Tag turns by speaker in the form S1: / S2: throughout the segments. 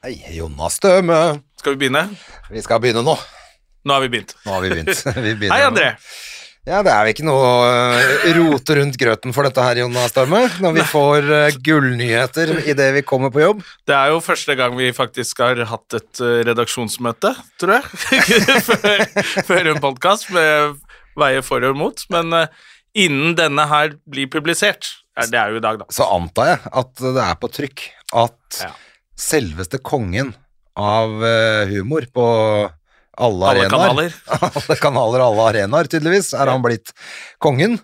S1: Hei, Jonna Støme.
S2: Skal vi begynne?
S1: Vi skal begynne nå.
S2: Nå har vi begynt.
S1: Nå har vi begynt. Vi begynner
S2: Hei,
S1: nå.
S2: André.
S1: Ja, det er jo ikke noe eh, rot rundt grøten for dette her, Jonna Støme. Når vi får eh, gullnyheter idet vi kommer på jobb.
S2: Det er jo første gang vi faktisk har hatt et eh, redaksjonsmøte, tror jeg. før, før en podkast med veier for og mot. Men eh, innen denne her blir publisert er- Det er jo i dag, da.
S1: Så antar jeg at det er på trykk at
S2: Ja.
S1: selveste kongen av eh, humor på alle,
S2: Alle
S1: arenaer
S2: kanaler.
S1: Alle kanaler og alle arenaer, tydeligvis, er han blitt kongen.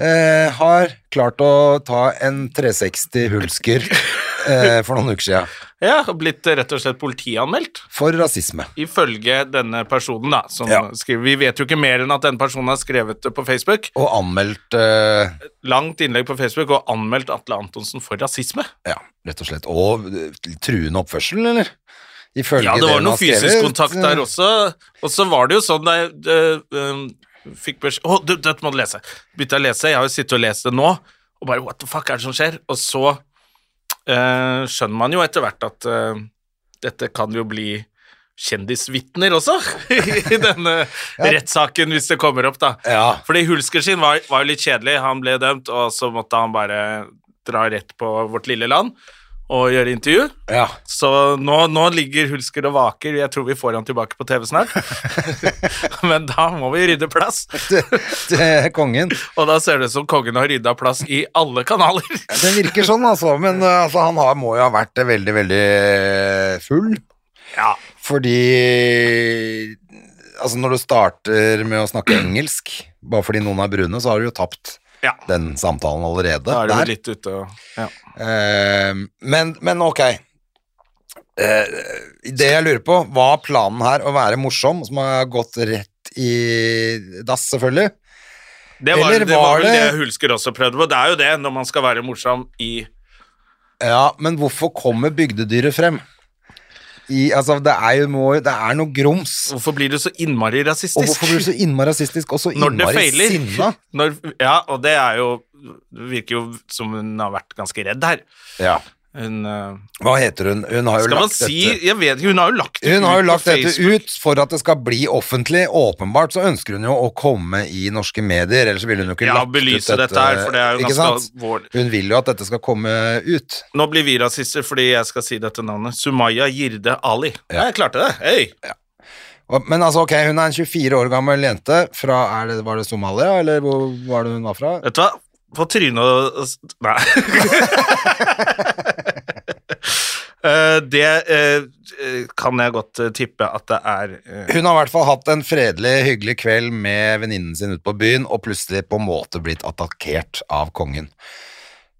S1: Eh, har klart å ta en 360 hulsker eh, for noen uker siden.
S2: Ja, Blitt eh, rett og slett politianmeldt.
S1: For rasisme.
S2: Ifølge denne personen, da. Som
S1: Ja.
S2: skriver, vi vet jo ikke mer enn at denne personen har skrevet det på Facebook.
S1: Og anmeldt eh,
S2: Langt innlegg på Facebook og anmeldt Atle Antonsen for rasisme.
S1: Ja, rett og slett. Og eh, truende oppførsel, eller? Ifølge
S2: Ja, det var
S1: hun
S2: noe
S1: har skrevet,
S2: fysisk kontakt der også. Og så var det jo sånn der eh, eh, Fikk beskjed Å, du, dette må du lese. Begynte å lese. Jeg har jo sittet og lest det nå, og bare What the fuck er det som skjer? Og så eh, skjønner man jo etter hvert at eh, dette kan jo bli kjendisvitner også, i denne rettssaken, hvis det kommer opp, da.
S1: Ja.
S2: Fordi Hulsker sin var, var jo litt kjedelig. Han ble dømt, og så måtte han bare dra rett på Vårt lille land og gjøre intervju.
S1: Ja.
S2: Så nå, nå ligger Hulsker og vaker. Jeg tror vi får han tilbake på TV snart. Men da må vi rydde plass.
S1: Til kongen.
S2: Og da ser det ut som kongen har rydda plass i alle kanaler.
S1: Det virker sånn, altså. Men eh, altså, han har, må jo ha vært eh, veldig, veldig eh, full.
S2: Ja.
S1: Fordi Altså, når du starter med å snakke engelsk, bare fordi noen er brune, så har du jo tapt
S2: Ja.
S1: den samtalen allerede.
S2: Da er det
S1: der.
S2: jo litt ute og ja.
S1: Eh, men, men ok. Eh, det jeg lurer på, var planen her å være morsom, som har gått rett i dass, selvfølgelig?
S2: Det var,
S1: Eller
S2: det var
S1: var
S2: vel
S1: det-
S2: det Hulsker også prøvde på. Det er jo det, når man skal være morsom i
S1: Ja, men hvorfor kommer bygdedyret frem? I, altså, det er jo må- det er noe grums.
S2: Hvorfor blir du så innmari
S1: Og
S2: rasistisk?
S1: hvorfor blir du så innmari rasistisk og så
S2: Når det
S1: innmari
S2: feiler.
S1: sinna?
S2: Når, ja, og det er jo Det virker jo som hun har vært ganske redd her.
S1: Ja.
S2: Hun, eh,
S1: Hva heter hun? Hun har jo
S2: skal man
S1: lagt
S2: si
S1: dette
S2: Jeg vet ikke, hun har jo lagt det
S1: Hun har jo
S2: ut
S1: lagt
S2: på
S1: dette
S2: Facebook.
S1: ut for at det skal bli offentlig. Åpenbart så ønsker hun jo å komme i norske medier, ellers ville hun jo ikke
S2: Ja,
S1: lagt
S2: belyse
S1: ut dette.
S2: dette her, for det er jo
S1: ikke
S2: ganske
S1: sant?
S2: alvorlig.
S1: Hun vil jo at dette skal komme ut.
S2: Nå blir vi rasister fordi jeg skal si dette navnet. Sumaya Jirde Ali. Ja, jeg klarte det. Hei!
S1: Og- Men altså, ok, hun er en 24 år gammel jente fra er det, Var det Somalia, eller hvor var det hun var fra?
S2: Vet du hva? På trynet og Nei. Eh, det eh, kan jeg godt eh, tippe at det er eh,
S1: Hun har i hvert fall hatt en fredelig, hyggelig kveld med venninnen sin ute på byen, og plutselig på en måte blitt attakkert av kongen.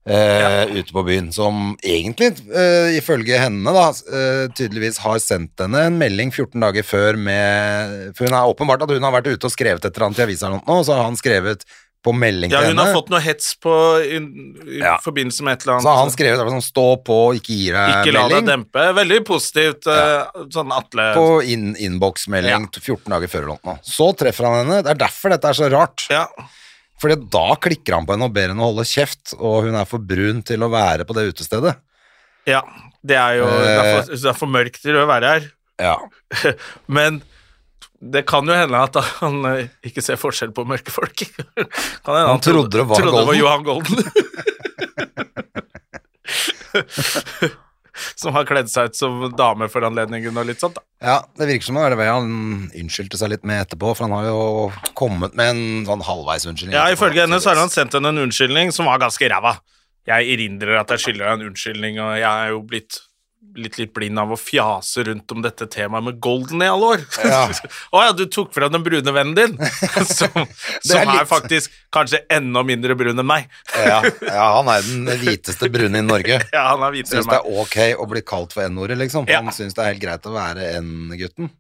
S1: eh, Ute på byen, som egentlig, eh, ifølge henne, da, eh, tydeligvis har sendt henne en melding 14 dager før med For hun er åpenbart at hun har vært ute og skrevet et eller annet i avisa eller noe, og så har han skrevet på melding
S2: Ja,
S1: til
S2: hun
S1: henne.
S2: har fått noe hets på, i, i
S1: Ja.
S2: forbindelse med et eller annet.
S1: så har han skrevet sånn 'stå på, ikke gi deg
S2: Ikke la deg
S1: melding'.
S2: dempe. Veldig positivt, eh, sånn Atle.
S1: På in innboksmelding 14 dager før eller noe. Så treffer han henne. Det er derfor dette er så rart.
S2: Ja.
S1: Fordi da klikker han på henne og ber henne holde kjeft, og hun er for brun til å være på det utestedet.
S2: ja. Det er jo
S1: Eh.
S2: derfor, det er for mørkt til å være her.
S1: Ja.
S2: Men det kan jo hende at han eh, ikke ser forskjell på mørke folk. Kan hende han,
S1: trodde det var Golden.
S2: Johan Golden. som har kledd seg ut som dame for anledningen og litt sånt, da.
S1: det virker som det er det han unnskyldte seg litt med etterpå, for han har jo kommet med en sånn halvveis unnskyldning.
S2: Ja,
S1: etterpå,
S2: ifølge henne så har han
S1: tydeligvis.
S2: sendt henne en unnskyldning som var ganske ræva. Jeg erindrer at jeg skylder deg en unnskyldning, og jeg er jo blitt blitt litt blind av å fjase rundt om dette temaet med Golden i alle år. Å ja.
S1: Ja.
S2: du tok fra den brune vennen din, som, som er,
S1: litt-
S2: faktisk kanskje enda mindre brun enn meg.
S1: Ja, ja, han er den hviteste brune i Norge.
S2: Ja, han er hvitere
S1: Syns
S2: enn
S1: det
S2: meg.
S1: er ok å bli kalt for N-ordet, liksom.
S2: Ja.
S1: Han syns det er helt greit å være N-gutten.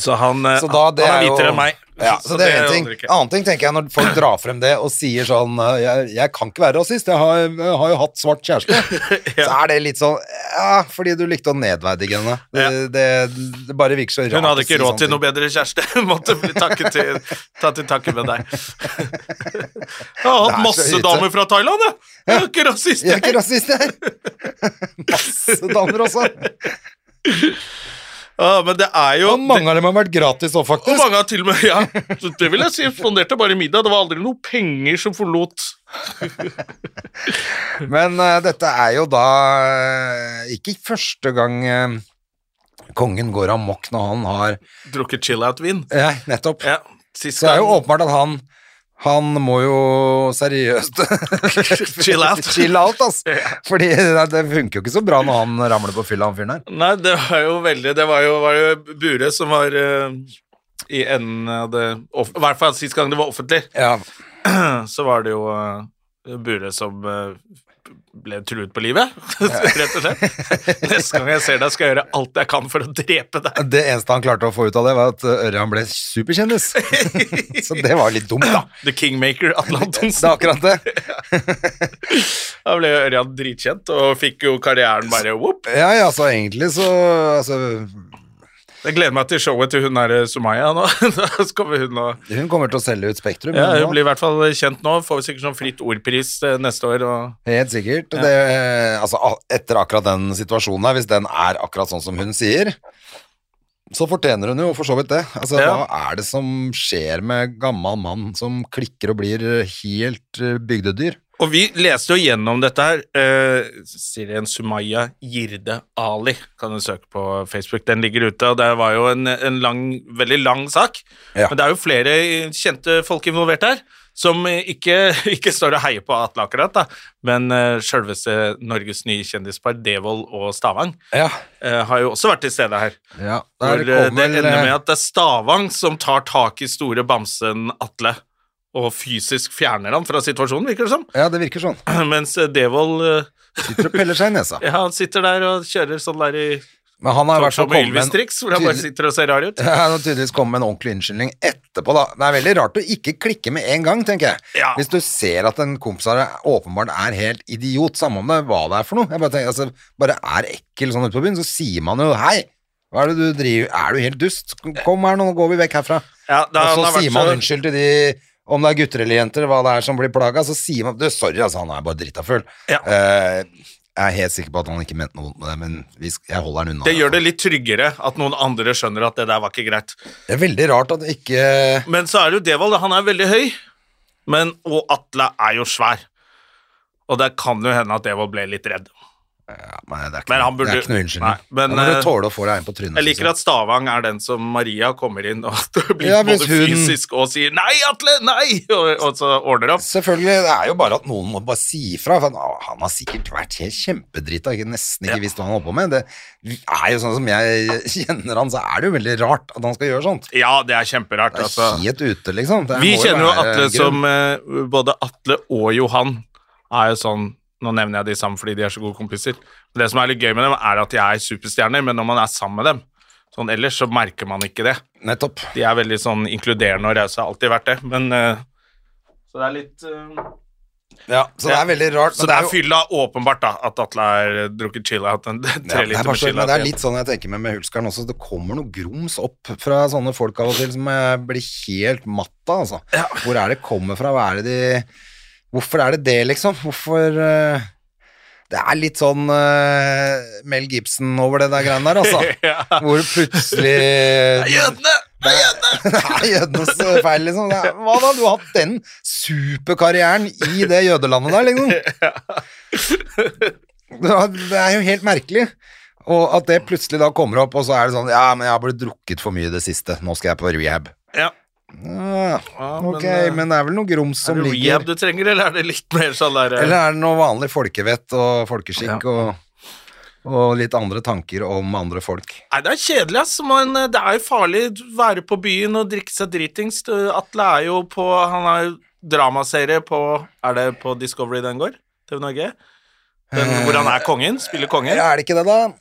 S2: Så han, eh,
S1: Så da, det
S2: han er
S1: jo-
S2: hvitere enn meg.
S1: Ja,
S2: Så
S1: så det er
S2: det
S1: en ting.
S2: aner ikke.
S1: Annen ting tenker jeg når folk drar frem det og sier sånn eh, Jeg, jeg kan ikke være rasist, jeg har, jeg har jo hatt svart kjæreste. Så er det litt sånn Ja, fordi du likte å nedverdige henne. Det, det, det bare virker så rart.
S2: Hun hadde ikke råd til noe
S1: bedre.
S2: bedre kjæreste. Hun måtte bli takket til, ta til takke med deg. Jeg har
S1: Det
S2: hatt
S1: er så
S2: masse
S1: ute.
S2: damer fra Thailand, jeg. Jeg er ikke rasist.
S1: Jeg er
S2: jeg.
S1: ikke rasist, jeg. Masse damer også.
S2: Ja, men det er jo
S1: Og mange av dem har vært gratis òg,
S2: Og
S1: faktisk.
S2: mange har til og med Ja, så det vil jeg si. Fonderte bare middag. Det var aldri noe penger som forlot
S1: Men eh, dette er jo da eh, ikke første gang eh, kongen går amok når han har
S2: drukket chill-out-vin.
S1: Ja, nettopp.
S2: Ja, sist
S1: Så det er jo
S2: gang-
S1: åpenbart at han han må jo seriøst
S2: Chill out.
S1: Chill out, altså. Fordi det det funker jo ikke så bra når han ramler på fylla, han fyren her.
S2: Nei, det var jo veldig Det var jo, var jo Bure som var eh, i enden av det off- I hvert fall sist gang det var offentlig,
S1: Ja.
S2: så var det jo eh, Bure som eh, ble truet på livet, rett og slett. Neste gang jeg ser deg, skal jeg gjøre alt jeg kan for å drepe deg.
S1: Det eneste han klarte å få ut av det, var at uh, Ørjan ble superkjendis. så det var litt dumt, da.
S2: The Kingmaker Atle
S1: Det
S2: Antonsen.
S1: er akkurat det.
S2: Da ble jo Ørjan dritkjent og fikk jo karrieren bare whoop.
S1: Ja, ja, så egentlig så altså,
S2: Jeg gleder meg til showet til hun der Sumaya nå. Da kommer hun og
S1: Hun kommer til å selge ut Spektrum.
S2: Ja,
S1: nå.
S2: hun blir i hvert fall kjent nå. Får sikkert sånn Fritt Ordpris eh, neste år og
S1: Helt sikkert. Det, altså, a- etter akkurat den situasjonen her, hvis den er akkurat sånn som hun sier, så fortjener hun jo for så vidt det. Altså,
S2: Ja.
S1: Hva er det som skjer med gammel mann som klikker og blir helt eh, bygdedyr?
S2: Og vi leste jo gjennom dette her. Eh, Sirien Sumaya Girde Ali kan du søke på Facebook. Den ligger ute, og det var jo en, en lang, veldig lang sak.
S1: Ja.
S2: Men det er jo flere kjente folk involvert her. Som ikke, ikke står og heier på Atle akkurat, da, men eh, sjølveste Norges nye kjendispar, Devold og Stavang,
S1: Ja.
S2: eh, har jo også vært til stede her.
S1: ja
S2: Hvor,
S1: der
S2: eh, det
S1: kommer,
S2: ender med
S1: eh,
S2: at det er Stavang som tar tak i store bamsen Atle, og fysisk fjerner han fra situasjonen, virker det som.
S1: Ja, det virker sånn.
S2: Mens eh, Devold eh,
S1: Sitter og peller seg i nesa.
S2: ja, han sitter der og kjører sånn der i
S1: Men han har i hvert
S2: Talkshow
S1: fall
S2: med
S1: kommet med en,
S2: Ylvis-triks, hvor han bare
S1: tydelig-
S2: sitter og ser rar ut.
S1: Ja, han har tydeligvis kommet med en ordentlig unnskyldning etterpå, da. Det er veldig rart å ikke klikke med en gang, tenker jeg.
S2: Ja.
S1: Hvis du ser at en kompis av deg åpenbart er helt idiot, samme om det hva det er for noe. Jeg bare tenker, altså, bare er ekkel sånn ute på byen, så sier man jo hei. Hva er det du driver Er du helt dust? Kom her nå, nå går vi vekk herfra.
S2: Ja, da, han
S1: og
S2: har
S1: så
S2: vært
S1: sier man unnskyld til de om det er gutter eller jenter, hva det er som blir plaga, så sier man Du, sorry, altså, han er bare drita full.
S2: Ja.
S1: Eh, jeg er helt sikker på at han ikke mente noe vondt med det, men vi, sk- jeg holder han unna.
S2: Det gjør det litt tryggere at noen andre skjønner at det der var ikke greit.
S1: det er veldig rart at ikke
S2: Men så er det jo Devold, han er veldig høy, men, og Atle er jo svær. Og det kan jo hende at Devold ble litt redd.
S1: Ja, nei, det er ikke,
S2: Men han burde-
S1: det er ikke noe
S2: nei,
S1: unnskyldning.
S2: men,
S1: Han burde
S2: eh,
S1: tåle å få deg inn på trynet.
S2: Jeg liker at Stavang er den som Maria kommer inn og blir
S1: Ja,
S2: både
S1: hvis hun-
S2: fysisk og sier 'nei, Atle, nei!' og, og så ordner opp.
S1: Selvfølgelig, det er jo bare at noen må bare si ifra. For han, han har sikkert vært helt kjempedrita, ikke- nesten ikke visst hva han holdt på med. Det er jo sånn som jeg kjenner han, så er det jo veldig rart at han skal gjøre sånt.
S2: Ja, det er kjemperart.
S1: Det er
S2: Altså.
S1: helt ute, liksom. Det
S2: Vi
S1: må
S2: kjenner jo
S1: være
S2: Atle
S1: grunn.
S2: som eh, Både Atle og Johan er jo sånn Nå nevner jeg de sammen fordi de er så gode kompiser. Men det som er litt gøy med dem, er at de er superstjerner, men når man er sammen med dem sånn ellers, så merker man ikke det.
S1: Nettopp.
S2: De er veldig sånn inkluderende og rause, har alltid vært det, men eh, Så det er litt eh,
S1: Ja, så det er veldig rart.
S2: Så
S1: men
S2: det er
S1: jo-
S2: fylla åpenbart, da, at Atle har eh, drukket chill-out. en-
S1: Ja,
S2: Tre
S1: det, er
S2: liter med altså.
S1: bare så, men det
S2: chill-out.
S1: er litt sånn jeg tenker med, med Hulskeren også. Det kommer noe grums opp fra sånne folk av og til som jeg blir helt matt av. Altså. Hvor er det kommer fra? Hva er det de Hvorfor er det det, liksom? Hvorfor eh, Det er litt sånn eh, Mel Gibson over det der greiene der, altså.
S2: Ja.
S1: Hvor plutselig
S2: Jødene!
S1: det er jødenes feil, liksom. Det er, hva da? Du har hatt den superkarrieren i det jødelandet der, liksom. Det er- Det er jo helt merkelig. Og at det plutselig da kommer opp, og så er det sånn Ja, men jeg har blitt drukket for mye i det siste. Nå skal jeg på rehab.
S2: Ja.
S1: Ja,
S2: Ja, men,
S1: ok,
S2: eh,
S1: men det er vel noe grums
S2: Er
S1: som
S2: det rehab
S1: ligger
S2: du trenger, eller er det litt mer sånn der eh,
S1: Eller er det noe vanlig folkevett og folkeskikk og Og litt andre tanker om andre folk.
S2: Nei, det er kjedelig, ass, men eh, det er jo farlig å være på byen og drikke seg dritings. Du, Atle er jo på Han har jo dramaserie på Er det på Discovery den går? TV Norge? Den, hvor han er kongen, spiller kongen.
S1: Ja, er det ikke det, da?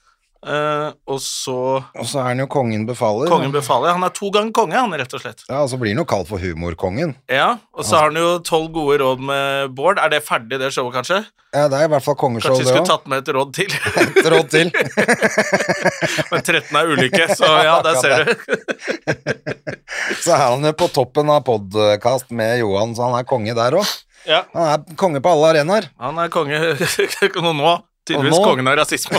S2: Eh, og så
S1: Og så er han jo kongen befaler.
S2: Kongen befaler. Han er to ganger konge, han, rett og slett.
S1: Ja, og så blir han jo kalt for humorkongen.
S2: Ja, Og så har han jo tolv gode råd med Bård. Er det ferdig, det showet, kanskje?
S1: Ja, det er i hvert fall
S2: Kanskje
S1: kongeshow,
S2: vi
S1: det
S2: skulle
S1: òg.
S2: tatt med et råd til?
S1: Et råd til.
S2: Men 13 er ulike, så ja, der ser du.
S1: Så er han jo på toppen av podkast med Johan, så han er konge der òg.
S2: Ja.
S1: Han er konge på alle arenaer.
S2: Han er konge Og nå tydeligvis
S1: Og nå-
S2: kongen av rasisme.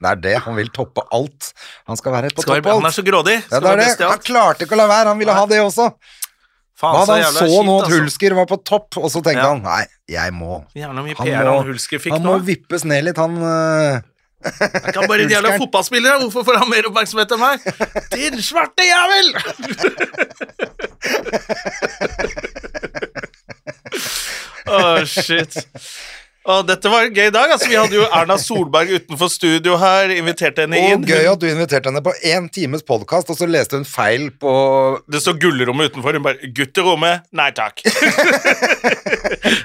S1: Det er det. Han vil toppe alt. Han skal være på
S2: Skal
S1: topp
S2: være-
S1: av
S2: Han er
S1: alt.
S2: så grådig.
S1: Ja,
S2: Skal
S1: det
S2: være
S1: er det.
S2: best i
S1: Han
S2: alt.
S1: klarte ikke å la være. Han ville ha det også.
S2: Faen,
S1: Hva da han
S2: jævla
S1: så
S2: kjipt,
S1: nå at
S2: altså.
S1: Hulsker var på topp, og så tenkte
S2: Ja.
S1: han nei, jeg må.
S2: Gjerne mye
S1: Han
S2: PR
S1: må-
S2: han Hulsker fikk
S1: Han
S2: nå.
S1: må vippes ned litt, han. øh.
S2: Han kan bare en jævla
S1: Hulskeren.
S2: fotballspiller, hvorfor får han mer oppmerksomhet enn meg? Din svarte jævel! Å, shit. Å, dette var en gøy dag. Altså, vi hadde jo Erna Solberg utenfor studio her, inviterte henne inn.
S1: Og gøy at du inviterte henne på én times podkast, og så leste hun feil på
S2: Det står gullrommet utenfor. Hun bare 'Gutterommet? Nei takk'.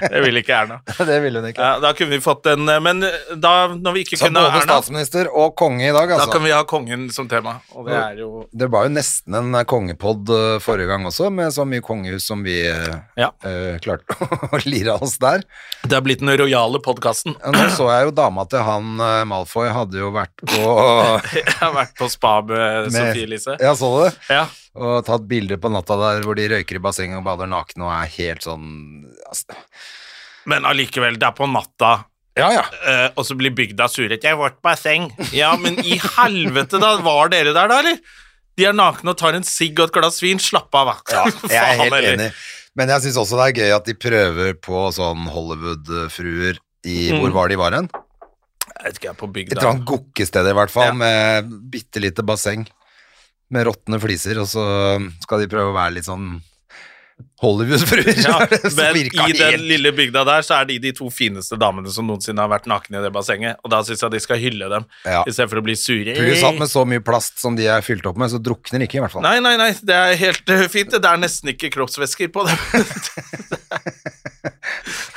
S2: det ville ikke Erna.
S1: Det ville hun ikke.
S2: Ja, da kunne vi fått en eh, Men da, når vi ikke
S1: Så
S2: kunne ha
S1: både
S2: Erna,
S1: statsminister og konge i dag,
S2: da kan
S1: altså.
S2: vi ha kongen som tema. Og det er jo
S1: Det var jo nesten en kongepodd eh, forrige gang også, med så mye kongehus som vi eh,
S2: Ja.
S1: eh, klarte å lire oss der.
S2: Det er blitt den rojale podkasten.
S1: Og Nå så jeg jo dama til han eh, Malfoy hadde jo vært på
S2: Jeg har vært på spa med,
S1: med-
S2: Sofie Elise.
S1: Ja, så du det?
S2: Ja.
S1: Og tatt bilder på natta der hvor de røyker i bassenget og bader nakne og er helt sånn altså,
S2: Men allikevel, det er på natta.
S1: Ja, ja.
S2: eh, og så blir bygda suret. 'Jeg vårt basseng'. Ja, men i helvete, da! Var dere der, da, eller? De er nakne og tar en sigg og et glass vin. Slapp av, da.
S1: Ja, jeg er
S2: Faen,
S1: helt
S2: eller?
S1: enig. Men jeg syns også det er gøy at de prøver på sånn Hollywood-fruer i
S2: Mm.
S1: Hvor var de var hen?
S2: Jeg vet ikke, jeg er på
S1: Et
S2: bygda.
S1: eller annet gokkested i hvert fall,
S2: Ja.
S1: med bitte lite basseng med råtne fliser, og så skal de prøve å være litt sånn Hollywood-fruer.
S2: Ja,
S1: som
S2: men
S1: virker
S2: i den
S1: helt-
S2: lille bygda der så er de de to fineste damene som noensinne har vært nakne i det bassenget, og da syns jeg de skal hylle dem,
S1: Ja.
S2: i stedet for å bli sure.
S1: Pluss at med så mye plast som de er fylt opp med, så drukner de ikke, i hvert fall.
S2: Nei, nei, nei, det er helt eh, fint. Det er nesten ikke kroppsvæsker på dem.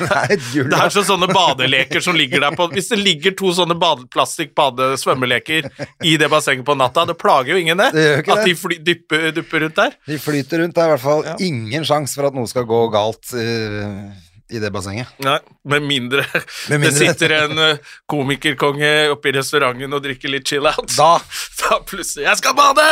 S1: Nei, jul,
S2: Det er så sånne badeleker som ligger der på Hvis det ligger to sånne bade, plastikk-bade-svømmeleker i det bassenget på natta, det plager jo ingen, det.
S1: Det gjør ikke
S2: at de
S1: det.
S2: fly, dypper, dupper rundt der.
S1: De flyter rundt, det er i hvert fall ingen sjanse for at noe skal gå galt eh, i det bassenget.
S2: Nei, med mindre,
S1: Med mindre.
S2: det sitter en eh, komikerkonge oppe i restauranten og drikker litt chill out.
S1: Da
S2: Da plutselig Jeg skal bade!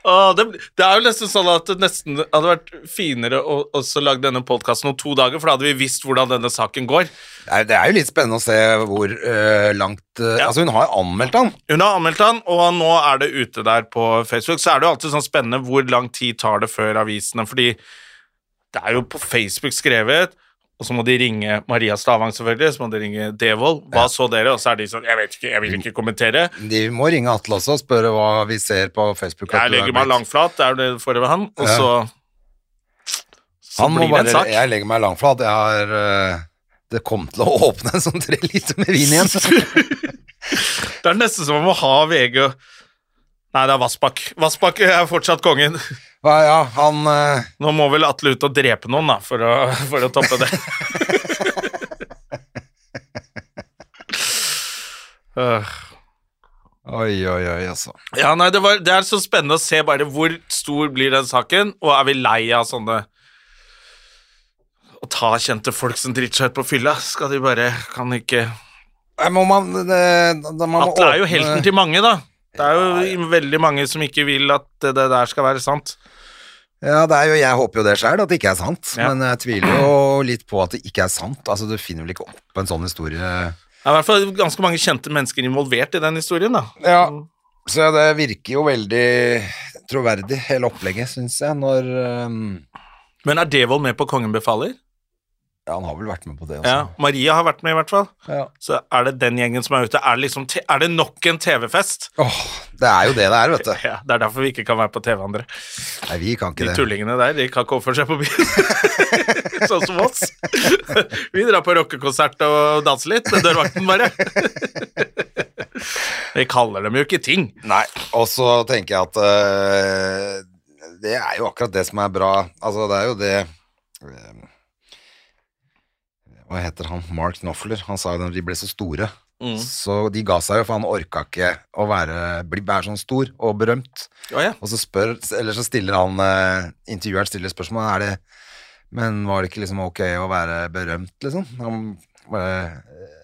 S2: Åh, det, det er jo nesten sånn at det nesten hadde vært finere å også lage denne podkasten om to dager, for da hadde vi visst hvordan denne saken går.
S1: Nei, Det er jo litt spennende å se hvor eh, langt eh,
S2: Ja.
S1: Altså, hun har anmeldt han.
S2: Hun har anmeldt han, og nå er det ute der på Facebook. Så er det jo alltid sånn spennende hvor lang tid tar det før avisene, fordi det er jo på Facebook skrevet, og så må de ringe Maria Stavang, selvfølgelig, så må de ringe Devold. Hva så dere? Og så er de sånn Jeg vet ikke, jeg vil ikke kommentere.
S1: De må ringe Atle også og spørre hva vi ser på Facebook.
S2: Jeg legger meg langflat, det er jo det forrige han, og
S1: Ja.
S2: så Så
S1: Han må
S2: blir det en
S1: bare
S2: sak.
S1: Jeg legger meg langflat. Jeg har eh, Det kom til å åpne en sånn tre liter med vin igjen.
S2: Det er nesten som om å ha VG og Nei, det er Vassbakk. Vassbakk er fortsatt kongen.
S1: Ja, ja, han eh,
S2: Nå må vel Atle ut og drepe noen, da, for å, for å toppe det. Øh.
S1: Oi, oi, oi, altså.
S2: ja, nei, det, var, det er så spennende å se bare hvor stor blir den saken, og er vi lei av sånne Å ta kjente folk som driter seg ut på fylla? Skal de bare Kan ikke
S1: Nei, Må man, det, da- da man må
S2: Atle er jo
S1: åpne-
S2: helten til mange, da. Det er jo veldig mange som ikke vil at det, det der skal være sant.
S1: Ja, det er jo, jeg håper jo det sjøl, at det ikke er sant.
S2: Ja.
S1: Men jeg tviler jo litt på at det ikke er sant. Altså, Du finner vel ikke opp en sånn historie
S2: Det er i hvert fall ganske mange kjente mennesker involvert i den historien, da.
S1: Ja, Mm. så det virker jo veldig troverdig, hele opplegget, syns jeg, når um,
S2: Men er Devold med på Kongen befaler?
S1: Ja, han har vel vært med på det også.
S2: Ja, Maria har vært med, i hvert fall.
S1: Ja.
S2: Så er det den gjengen som er ute. Er det, liksom, te- er det nok en TV-fest?
S1: Åh, det er jo det det er, vet du.
S2: Ja, Det er derfor vi ikke kan være på TV, andre.
S1: Nei, vi
S2: De
S1: kan ikke det.
S2: tullingene der de kan ikke oppføre seg på byen, sånn som oss. Vi drar på rockekonsert og danser litt med dørvakten, bare. Vi kaller dem jo ikke ting.
S1: Nei, og så tenker jeg at øh, det er jo akkurat det som er bra. Altså, det er jo det øh, Hva heter han? Mark Knopfler. Han sa jo at de ble så store.
S2: Mm.
S1: Så de ga seg jo, for han orka ikke å være, bli, være sånn stor og berømt.
S2: Å ja.
S1: Og så spør, eller så stiller han eh, intervjueren stiller spørsmål er det, Men var det ikke liksom ok å være berømt, liksom? Han bare eh,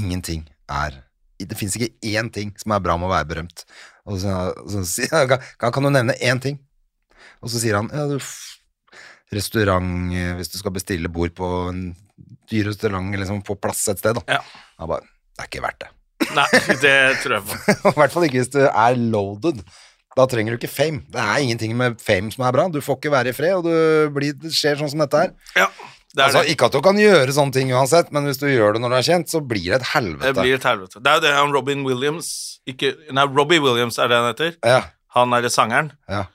S1: Ingenting er Det fins ikke én ting som er bra med å være berømt. Og så, så sier han kan, kan du nevne én ting? Og så sier han ja, du, f- restaurant eh, Hvis du skal bestille bord på en dyr restaurant, liksom på plass et sted, da.
S2: Ja.
S1: Han bare Det er ikke verdt det.
S2: Nei, det tror jeg på.
S1: Og I hvert fall ikke hvis du er loaded. Da trenger du ikke fame. Det er ingenting med fame som er bra. Du får ikke være i fred, og du blir, det skjer sånn som dette her.
S2: Ja, det er
S1: Altså,
S2: det.
S1: ikke at du kan gjøre sånne ting uansett, men hvis du gjør det når du er kjent, så blir det et helvete.
S2: Det blir et helvete. Det er jo det han Robin Williams ikke, Nei, Robbie Williams er det han heter.
S1: Ja,
S2: Han er sangeren.
S1: ja.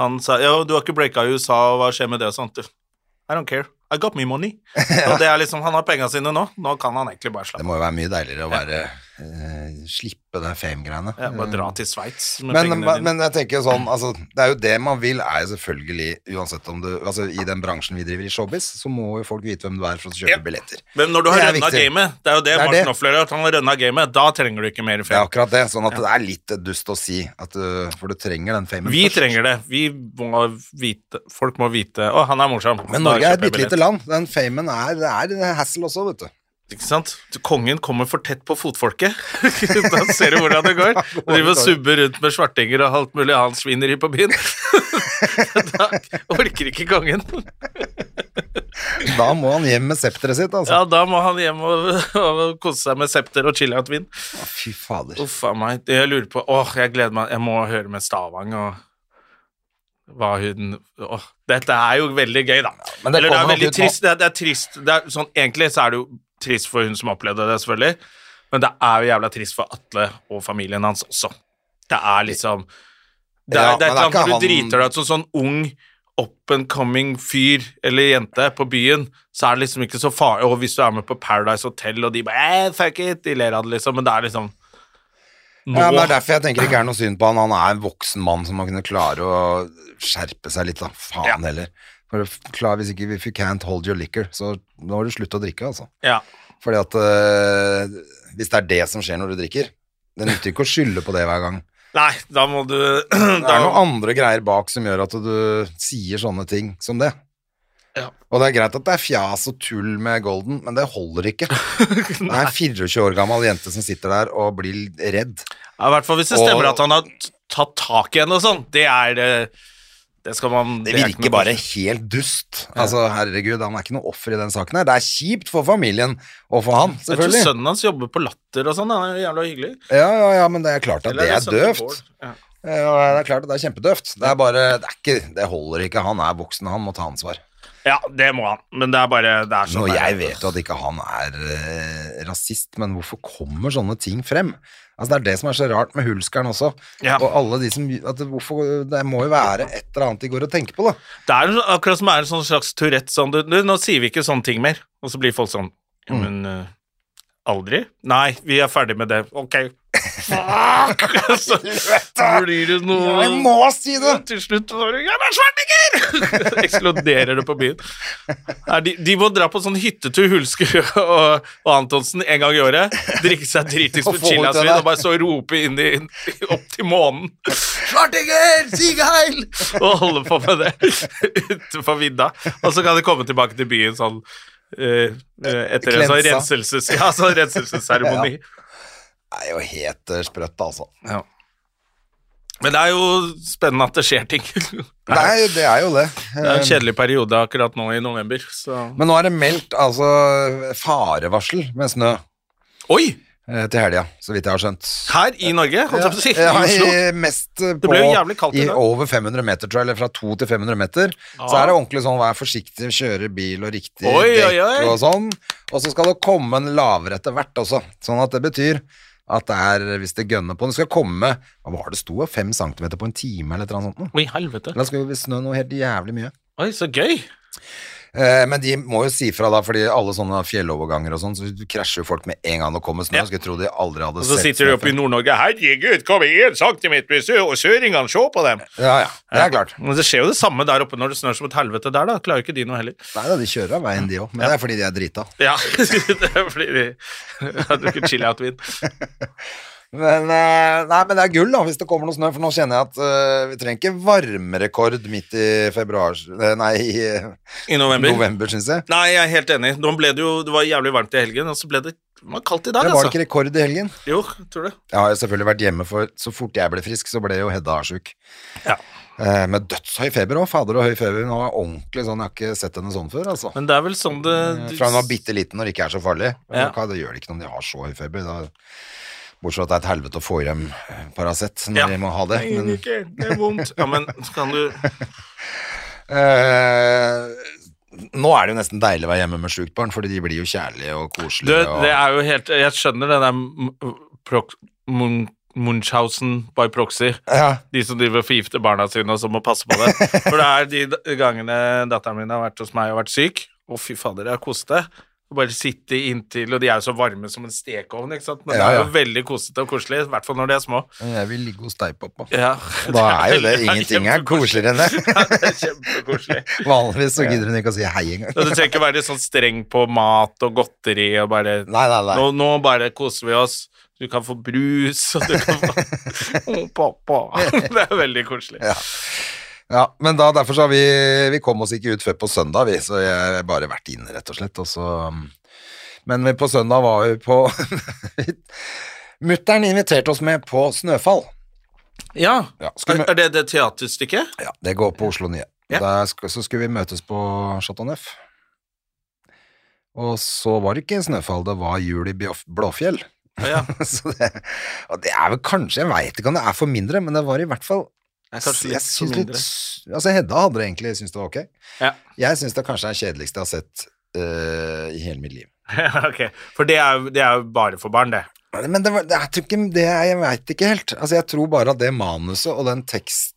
S2: Han sa ja, du har ikke breaka i USA, og hva skjer med det og sånt? I don't care. I got me money. Og det er liksom, Han har penga sine nå. Nå kan han egentlig bare
S1: Det
S2: slappe av.
S1: må jo være mye deiligere å være eh, Slippe det fame-greiene.
S2: Ja, bare dra til Sveits med
S1: Men,
S2: pengene dine.
S1: men jeg tenker jo sånn, altså, det er jo det man vil, er jo selvfølgelig Uansett om du Altså, i den bransjen vi driver i showbiz, så må jo folk vite hvem du er for å kjøpe billetter.
S2: Men når du har
S1: Det er
S2: rønna
S1: viktig.
S2: gamet, det er jo det,
S1: Det er det.
S2: Martin Offler har, at han har rønna gamet, da trenger du ikke mer
S1: Det er
S2: fame.
S1: akkurat det. Sånn at det er litt dust å si, at du, for du trenger den famen
S2: Vi
S1: først.
S2: trenger det. Vi må vite Folk må vite Å, han er morsom.
S1: Men
S2: Da
S1: Norge er et
S2: kjøper jeg
S1: bitte lite
S2: billett.
S1: land. Den famen er, det er en hassle også, vet du.
S2: Ikke sant? Kongen kommer for tett på fotfolket. da ser du hvordan det går. Og driver og subber rundt med svartinger og alt mulig annet svineri på byen. da orker ikke kongen.
S1: Da må han hjem med septeret sitt, altså.
S2: Ja, da må han hjem og, og kose seg med septer og chiliatvin.
S1: Fy fader.
S2: Uff a meg. Det Jeg lurer på Åh, jeg gleder meg. Jeg må høre med Stavang og hva hun Åh, dette er jo veldig gøy, da.
S1: men det
S2: Eller det
S1: kommer
S2: er
S1: nok
S2: veldig
S1: ut nå.
S2: trist. Det er, det er trist. Det er, sånn, egentlig så er det jo trist for hun som opplevde det, selvfølgelig. Men det er jo jævla trist for Atle og familien hans også. Det er liksom Det er,
S1: Ja,
S2: det er et eller
S1: men det er
S2: annet hvor
S1: ikke
S2: du
S1: han-
S2: driter deg ut som sånn ung up and coming fyr eller jente på byen, så er det liksom ikke så farlig. Og hvis du er med på Paradise Hotel, og de bare eh, fuck it, de ler av det, liksom, men det er liksom nå.
S1: Ja, men det er derfor jeg tenker det ikke er noe synd på han. Han er en voksen mann som må kunne klare å skjerpe seg litt, da. Faen
S2: Ja.
S1: heller. For det- klar, hvis ikke if you can't hold your liquor, så nå har du slutt å drikke, altså.
S2: ja.
S1: Fordi at øh, hvis det er det som skjer når du drikker Det nytter ikke å skylde på det hver gang.
S2: Nei, da må du
S1: Det er noen
S2: da,
S1: andre greier bak som gjør at du sier sånne ting som det.
S2: Ja.
S1: Og det er greit at det er fjas og tull med Golden, men det holder ikke. Det er en 24 år gammel jente som sitter der og blir redd.
S2: ja, I hvert fall hvis det
S1: Og-
S2: stemmer at han har t- tatt tak i henne og sånn. Det er det Det skal man
S1: Det
S2: er ikke
S1: virker
S2: noe-
S1: bare helt dust. Altså, herregud, han er ikke noe offer i den saken her. Det er kjipt for familien og for han,
S2: Jeg tror
S1: selvfølgelig.
S2: sønnen hans jobber på Latter og sånn. Han er jo jævla hyggelig.
S1: Ja, ja, ja, men det er klart at
S2: Eller
S1: det er
S2: sønnen til
S1: døvt.
S2: Bård. Ja.
S1: Ja, det er klart at det er kjempedøvt. Det er bare, det er ikke, det holder ikke. Han er voksen, han må ta ansvar.
S2: ja, det må han. Men det er bare det er sånn
S1: Nå,
S2: det er.
S1: jeg vet jo at ikke han er eh, rasist, men hvorfor kommer sånne ting frem? Altså, det er det som er så rart med Hulskeren også.
S2: Ja.
S1: Og alle de som at det- hvorfor, Det må jo være et eller annet de går og tenker på, da.
S2: Det er jo akkurat som er en sånn slags Tourette sånn, du, du, Nå sier vi ikke sånne ting mer. Og så blir folk sånn ja,
S1: Mm.
S2: Men eh, aldri? Nei, vi er ferdig med det. Ok. Fuck! så blir det noe
S1: Jeg må si det!
S2: Til slutt var det 'Jeg er svartinger!' Eksploderer det på byen. Nei, de, de må dra på sånn hyttetur, Hulsker og, og Antonsen, en gang i året. Drikke seg dritings
S1: Og
S2: på
S1: få ut det
S2: Chillasvin
S1: der.
S2: og bare så rope inn i, inn- opp til månen. 'Svartinger! Sigeheil!' Og holde på med det utenfor vidda. Og så kan de komme tilbake til byen sånn eh, eh, etter en sånn
S1: Klensa.
S2: renselses, ja, sånn renselsesseremoni.
S1: Det er jo helt eh, sprøtt, altså.
S2: Ja. Men det er jo spennende at det skjer ting.
S1: Det er, jo- det er jo det.
S2: Det er en kjedelig periode akkurat nå i november, så
S1: Men nå er det meldt altså farevarsel med snø.
S2: Oi!
S1: eh, til helga, så vidt jeg har skjønt.
S2: Her i Norge, holdt jeg på å si.
S1: Ja,
S2: I Oslo.
S1: i, mest eh, på,
S2: ble jo jævlig kaldt i
S1: i
S2: dag.
S1: over 500 meter, tror jeg, eller fra 2 til 500 meter. Så
S2: Ja.
S1: er det ordentlig sånn, vær forsiktig, kjøre bil og riktig
S2: Oi,
S1: dekk
S2: oi, oi.
S1: og sånn. Og så skal det komme en lavere etter hvert også, sånn at det betyr at det er, hvis det gønner på, det skal komme, hva var det sto, 5 centimeter på en time eller et eller annet sånt. nå.
S2: Oi, helvete.
S1: Da skal vi snø noe helt jævlig mye.
S2: Oi, så gøy.
S1: Eh, Men de må jo si fra da, fordi alle sånne fjelloverganger og sånn, så krasjer jo folk med en gang det kommer snø.
S2: Ja.
S1: Skulle tro de aldri hadde
S2: Og så
S1: sett
S2: sitter du
S1: snø
S2: oppe i
S1: før.
S2: Nord-Norge. Herregud, kom igjen, centimeter i sø, og søringene, se på dem.
S1: Ja, ja, det er klart.
S2: Men det skjer jo det samme der oppe når det snør som et helvete der, da. Klarer jo ikke de noe heller.
S1: Nei da, de kjører av veien de òg, men det er fordi de er drita.
S2: Ja, det blir de Jeg drukket chill-out-vin.
S1: Men, eh, nei, men det er gull da, hvis det kommer noe snø, for nå kjenner jeg at eh, vi trenger ikke varmerekord midt i februar eh, Nei, i eh,
S2: I november.
S1: november, syns jeg.
S2: Nei, jeg er helt enig. Nå ble det jo Det var jævlig varmt i helgen, og så ble det det var kaldt i dag,
S1: Det var
S2: altså.
S1: ikke rekord i helgen.
S2: Jo, tror du.
S1: Jeg har jo selvfølgelig vært hjemme, for så fort jeg ble frisk, så ble jo Hedda sjuk.
S2: Ja.
S1: Eh, Med dødshøy feber òg. Fader og høy feber. Hun var ordentlig sånn, jeg har ikke sett henne sånn før, altså. Eh,
S2: Men det er vel sånn det
S1: Fra hun var bitte liten og ikke er så farlig.
S2: Ja.
S1: Hva, det gjør det ikke noe om de har så høy feber. Da, bortsett fra at det er et helvete å få i dem Paracet når
S2: Ja.
S1: de må ha det.
S2: Nei,
S1: Men,
S2: ikke. Det er vondt. Ja, men kan du
S1: eh, nå er det jo nesten deilig å være hjemme med sjukt barn, fordi de blir jo kjærlige og
S2: Du,
S1: koselige.
S2: det er jo helt Jeg skjønner det der m- prox- mun- Munchausen by proxy.
S1: og, ja.
S2: De som driver og forgifter barna sine, og som må passe på det. For det er de d- gangene datteren min har vært hos meg og vært syk. Å, fy fader, jeg har kostet. Og Bare sitte inntil, og de er jo så varme som en stekeovn, ikke sant. Men
S1: Ja,
S2: det er
S1: ja.
S2: jo veldig kosete og koselig, i hvert fall når de er små.
S1: Jeg vil ligge hos deg, pappa.
S2: Ja,
S1: Da er jo det
S2: veldig-
S1: ingenting er
S2: kjempekoselig.
S1: koseligere enn
S2: Ja,
S1: det.
S2: det er kjempekoselig.
S1: Vanligvis så gidder hun ikke å si hei engang.
S2: Og du trenger ikke være sånn streng på mat og godteri og bare
S1: Nei, nei, nei.
S2: Nå, nå bare koser vi oss. Du kan få brus, og du kan få Å, pappa. Det er veldig koselig.
S1: Ja, men da, derfor så har vi Vi kom oss ikke ut før på søndag, vi, så jeg har bare vært inne, rett og slett. Og så, um, men vi- på søndag var vi på Mutter'n inviterte oss med på Snøfall.
S2: Ja.
S1: Ja,
S2: Er,
S1: skulle,
S2: er det det teaterstykket?
S1: ja, det går på Oslo Nye.
S2: Ja.
S1: Der sk- så skulle vi møtes på Chateau Neuf. Og så var det ikke Snøfall, det var jul i Bjof- Blåfjell.
S2: Å, Ja.
S1: så det, og det er vel kanskje, jeg veit ikke om det er for mindre, men det var i hvert fall
S2: Det er kanskje
S1: jeg
S2: litt
S1: syns litt,
S2: mindre.
S1: altså Hedda hadde det egentlig syntes det var ok.
S2: Ja.
S1: Jeg syns det kanskje er det kjedeligste jeg har sett eh, i hele mitt liv.
S2: ok. For det er, jo- det er jo bare for barn, det.
S1: Men men det var, det, jeg tror ikke det er- Jeg veit ikke helt. Altså, jeg tror bare at det manuset og den tekst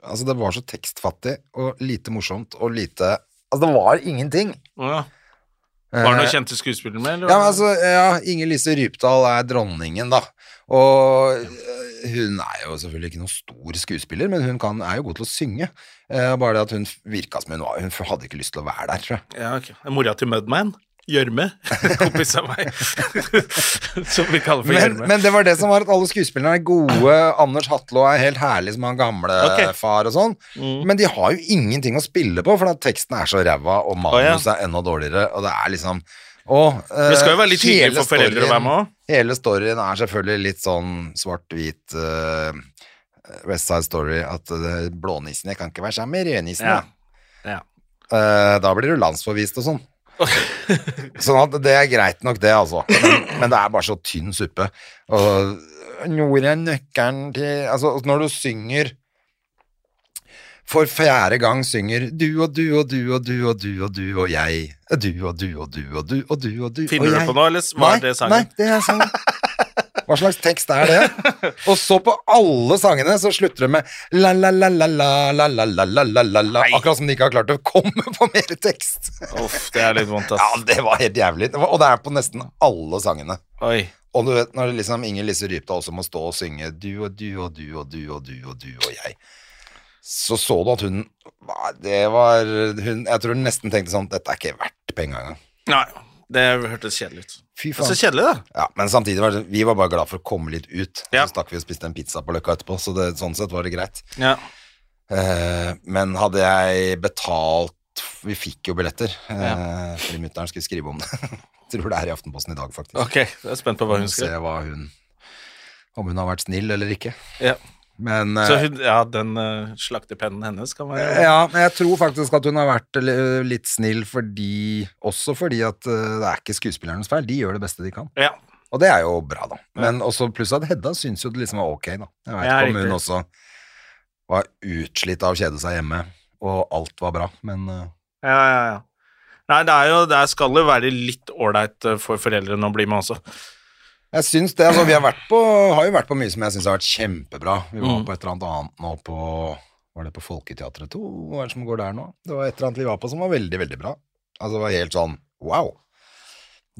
S1: Altså, det var så tekstfattig og lite morsomt og lite Altså, det var ingenting.
S2: Å, Ja. Var det
S1: Eh,
S2: noen kjente skuespillere med? Eller?
S1: Ja, men altså, ja, Inger Lise Rypdal er dronningen, da. Og øh, hun er jo selvfølgelig ikke noen stor skuespiller, men hun kan, er jo god til å synge. Eh, bare det at hun virka som hun var Hun hadde ikke lyst til å være der, tror jeg.
S2: ja, ok. Det er Mora til Mudman. Gjørme. Kompis av meg. Som vi kaller for
S1: Men,
S2: Gjørme.
S1: men det var det som var at alle skuespillerne er gode. Anders Hatlo er helt herlig som han gamle
S2: Ok. Mm.
S1: far og sånn. Men de har jo ingenting å spille på, for at teksten er så ræva, og manuset er enda dårligere, og det er liksom og, eh,
S2: Det skal jo være litt hyggelig
S1: hele
S2: for foreldre å være med
S1: storyen-
S2: også.
S1: Hele storyen er selvfølgelig litt sånn svart-hvit eh, West Side Story, at eh, blånissene kan ikke være sammen med rødnissene.
S2: Ja. Ja.
S1: Eh, da blir du landsforvist og sånn. sånn at det er greit nok, det, altså. Men, men det er bare så tynn suppe. Og Nord er nøkkelen til Altså, når du synger for fjerde gang synger du og du og du og du og du og du og jeg. Du og du og du og du og du og du
S2: Finner
S1: og
S2: du
S1: jeg.
S2: på noe, eller var det sangen?
S1: Nei, det er sangen. Hva slags tekst er det? Og så på alle sangene så slutter det med la la la la la la la la la la la la Akkurat som de ikke har klart å komme på mer tekst.
S2: Uff, det er litt vondt,
S1: Ja,
S2: ass.
S1: det var helt jævlig. Det var- Og det er på nesten alle sangene.
S2: Oi.
S1: Og du vet, når liksom Inger Lise Rypdal også må stå og synge du og du og du og du og du og du og jeg, så så du at hun Nei, Det var hun Jeg tror hun nesten tenkte sånn Dette er ikke verdt penga engang.
S2: Nei, det hørtes kjedelig ut.
S1: Fy
S2: Så kjedelig, da.
S1: Ja, men samtidig var det, vi var bare glad for å komme litt ut.
S2: Ja.
S1: Så stakk vi og spiste en pizza på Løkka etterpå, så det, sånn sett var det greit.
S2: Ja.
S1: Eh, men hadde jeg betalt Vi fikk jo billetter, eh, fordi mutter'n skulle skrive om det. Tror det er i Aftenposten i dag, faktisk.
S2: Ok, jeg er spent på hva hun
S1: Se
S2: skrev.
S1: hva hun Om hun har vært snill eller ikke.
S2: Ja.
S1: Men eh,
S2: Så hun, ja, den eh, slaktepennen hennes kan være
S1: ja, men jeg tror faktisk at hun har vært li- litt snill fordi Også fordi at eh, det er ikke skuespillernes feil. De gjør det beste de kan.
S2: Ja,
S1: Og det er jo bra, da. Men også pluss at Hedda syns jo det liksom var ok, da. Jeg vet
S2: Ja,
S1: ikke om
S2: riktig.
S1: hun også var utslitt av å kjede seg hjemme, og alt var bra, men eh,
S2: Ja, ja, ja. Nei, det, er jo, det skal jo være litt ålreit eh, for foreldrene å bli med også.
S1: jeg syns det. Altså, vi har, vært på, har jo vært på mye som jeg syns har vært kjempebra. Vi
S2: Mm.
S1: var på et eller annet annet nå på Var det på Folketeatret 2? Hva er det som går der nå? Det var et eller annet vi var på som var veldig, veldig bra. Altså, det var helt sånn wow.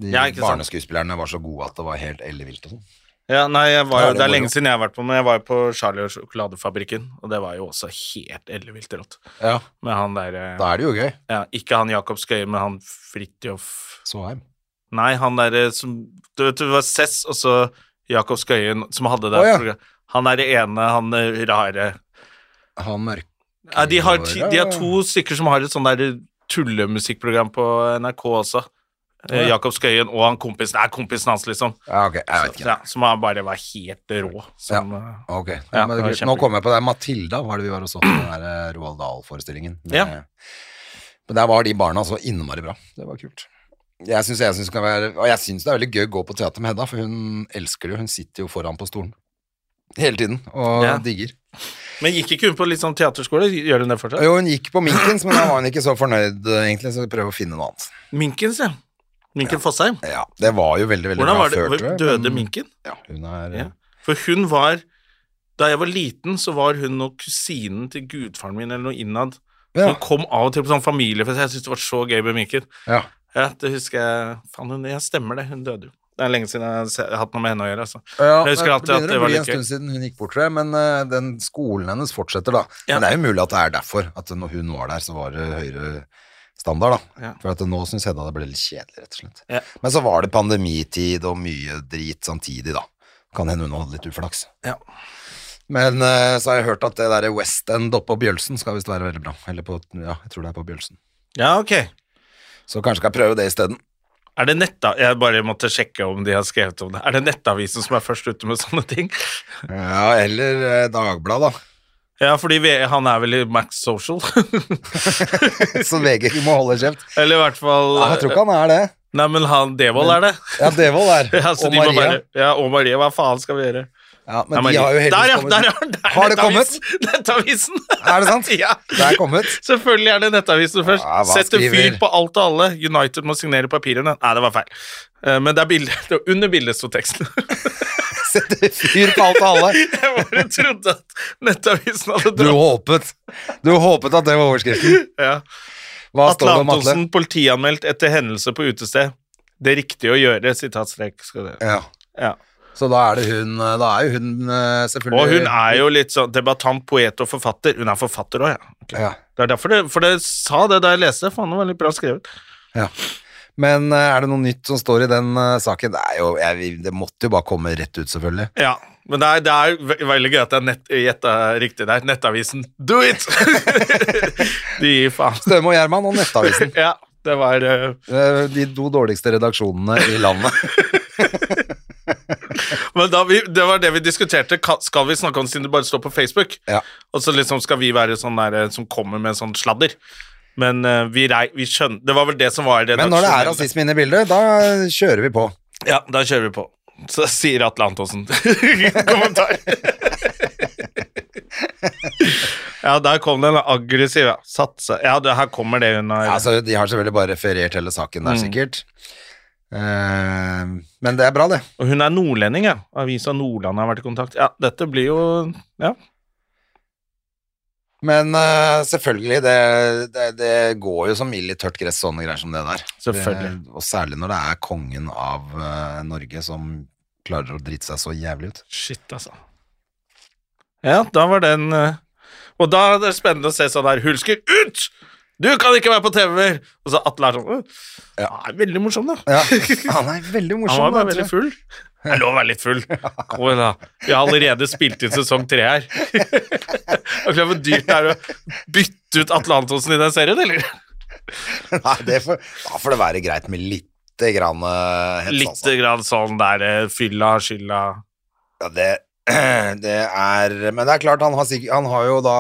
S1: De
S2: Ja, ikke sant.
S1: barneskuespillerne var så gode at det var helt ellevilt og sånn.
S2: Ja, nei, jeg var
S1: Da
S2: jo,
S1: er det
S2: Det er
S1: moro.
S2: lenge siden jeg har vært på, men jeg var jo på Charlie og sjokoladefabrikken, og det var jo også helt ellevilt rått.
S1: Ja.
S2: Med han der eh,
S1: Da er det jo gøy.
S2: ja, Ikke han Jakob Skøye, men han Fridtjof
S1: Såheim.
S2: Nei, han derre som Du vet, det var Cess og så Jakob Skøyen som hadde det
S1: Å, ja.
S2: programmet. Han er det ene, han eh, rare
S1: Han mørk...
S2: ja, de, har ti, de har
S1: ja.
S2: to stykker som har et sånn der tullemusikkprogram på NRK også. Eh, Jakob Skøyen og han kompisen Nei, kompisen hans, liksom.
S1: Ja, ok, jeg vet ikke.
S2: Ja, som han bare var helt rå. Som, eh,
S1: Ok, ja,
S2: Ja,
S1: men det
S2: det var
S1: er kult. Nå
S2: kjempegøy.
S1: kom jeg på det. Matilda var det vi var og så på den der eh, Roald Dahl-forestillingen. med-
S2: Ja.
S1: Men der var de barna så innmari bra. Det var kult. Jeg syns, jeg synes det kan være, og jeg syns det er veldig gøy å gå på teater med Hedda, for hun elsker det jo. Hun sitter jo foran på stolen hele tiden og
S2: Ja.
S1: digger.
S2: Men gikk ikke hun på litt sånn teaterskole? Gjør hun det fortsatt?
S1: Jo, hun gikk på Minkens, men da var hun ikke så fornøyd, eh, egentlig, så vi prøver å finne noe annet.
S2: Minkens, ja. Minken Fosheim.
S1: Ja, Det var jo veldig, veldig
S2: Hvordan
S1: bra
S2: var det?
S1: før, tror jeg,
S2: døde
S1: men-
S2: minken?
S1: Ja, hun er
S2: Ja. For hun var Da jeg var liten, så var hun og kusinen til gudfaren min eller noe innad.
S1: Ja.
S2: Hun kom av og til på sånn familiefest. Jeg syntes det var så gøy med minken.
S1: ja.
S2: Ja, det husker jeg Faen, hun, jeg stemmer det. Hun døde jo. Det er lenge siden jeg har se- hatt noe med henne å gjøre. Altså.
S1: Ja,
S2: jeg husker
S1: det
S2: alltid at
S1: begynner
S2: det
S1: å
S2: var
S1: bli en
S2: litt gøy.
S1: stund siden hun gikk bort, tror jeg, men eh, den skolen hennes fortsetter, da.
S2: Ja.
S1: Men det er jo mulig at det er derfor, at når hun var der, så var det høyere standard, da.
S2: Ja.
S1: For at nå syns Hedda det ble litt kjedelig, rett og slett.
S2: Ja.
S1: Men så var det pandemitid og mye drit samtidig, da. Kan hende hun hadde litt uflaks.
S2: Ja.
S1: Men eh, så har jeg hørt at det derre West End oppe på Bjølsen skal visst være veldig bra. Eller på Ja, jeg tror det er på Bjølsen.
S2: ja, ok.
S1: Så kanskje skal jeg prøve det isteden.
S2: Er det netta... Jeg bare måtte sjekke om de har skrevet om det. Er det Nettavisen som er først ute med sånne ting?
S1: Ja, eller eh, Dagbladet, da.
S2: Ja, fordi vi, han er vel i Max Social.
S1: Så VG må holde kjeft.
S2: Eller i hvert fall eh,
S1: Ja, jeg tror ikke han er det.
S2: Nei, men han Devold er det.
S1: Ja, Devold er
S2: Ja, så
S1: Og
S2: de må
S1: Maria.
S2: Bare, ja, og Marie, hva faen skal vi gjøre?
S1: Ja, men
S2: Nei,
S1: de
S2: Marie-
S1: har jo heldigvis
S2: der, ja,
S1: kommet
S2: der, ja, der,
S1: Har det kommet?
S2: Nettavisen. Nettavisen!
S1: Er det sant?
S2: ja.
S1: Det er kommet.
S2: Selvfølgelig er det Nettavisen først.
S1: Ja, hva
S2: Sett en
S1: skriver-
S2: fyr på alt og alle. United må signere papirene. Nei, det var feil. Eh, Men det er bildet, det var under bildet sto teksten.
S1: Setter fyr på alt og alle.
S2: Jeg bare trodde at Nettavisen hadde
S1: Du
S2: dratt
S1: håpet Du håpet at det var overskriften.
S2: ja.
S1: Hva
S2: Atle
S1: står det om Atle?
S2: Antonsen politianmeldt etter hendelse på utested. Det riktige å gjøre, sitatstrek. Skal det.
S1: Ja.
S2: Ja.
S1: Så da er det hun Da er jo hun eh, selvfølgelig
S2: Og hun er jo litt sånn debattant, poet og forfatter. Hun er forfatter òg, ja. Ok.
S1: ja.
S2: Det er derfor det, for det sa det da jeg leste. Faen, det var litt bra skrevet.
S1: ja. Men eh, er det noe nytt som står i den eh, saken? Det, er jo, jeg, vi- det måtte jo bare komme rett ut, selvfølgelig.
S2: Ja, men det er, det er ve- veldig gøy at jeg nett- gjetta riktig der. Nettavisen, do it! De gir faen.
S1: Støme og Gjerman og Nettavisen.
S2: Ja, det var eh,
S1: Eh, De to dårligste redaksjonene i landet.
S2: Men da vi, det var det vi diskuterte. Ka- Skal vi snakke om det siden det bare står på Facebook?
S1: Ja.
S2: Og så liksom skal vi være sånn der eh, som kommer med sånn sladder. Men eh, vi, rei, vi skjønner Det var vel det som var det.
S1: Men når det er rasisme inne i bildet, da kjører vi på.
S2: Ja, da kjører vi på. Så sier Atle Antonsen. Kommentar. ja, der kom den aggressive. Satse. Ja, det, her kommer det Mm. hun har
S1: Ja, altså, de har selvfølgelig bare referert hele saken der, sikkert. Eh, men det er bra, det.
S2: Og hun er nordlending, ja. Avisa Nordland har vært i kontakt. Ja, dette blir jo Ja.
S1: Men eh, selvfølgelig, det, det, det går jo som mild i tørt gress, sånne greier som det der.
S2: Selvfølgelig.
S1: Det, og særlig når det er kongen av eh, Norge som klarer å drite seg så jævlig ut.
S2: Shit, altså. Ja, da var den eh, Og da er det spennende å se sånn her Hulsker, ut! Du kan ikke være på TV mer! Og så Atle er sånn «Åh,
S1: Ja.
S2: han er Veldig morsom, da.
S1: Ja, han er veldig morsom.
S2: Han var bare
S1: da,
S2: veldig
S1: tror jeg.
S2: full. Det er lov å være litt full. Kom igjen, da. Vi har allerede spilt inn sesong tre her. Og klart hvor dyrt det er å bytte ut Atle Antonsen i den serien, eller?
S1: Nei, det får, da får det være greit med lite grann eh, hets,
S2: Litt
S1: altså.
S2: grann sånn der eh, fylla, skylda
S1: Ja, det, det er Men det er klart, han har, sikkert, han har jo da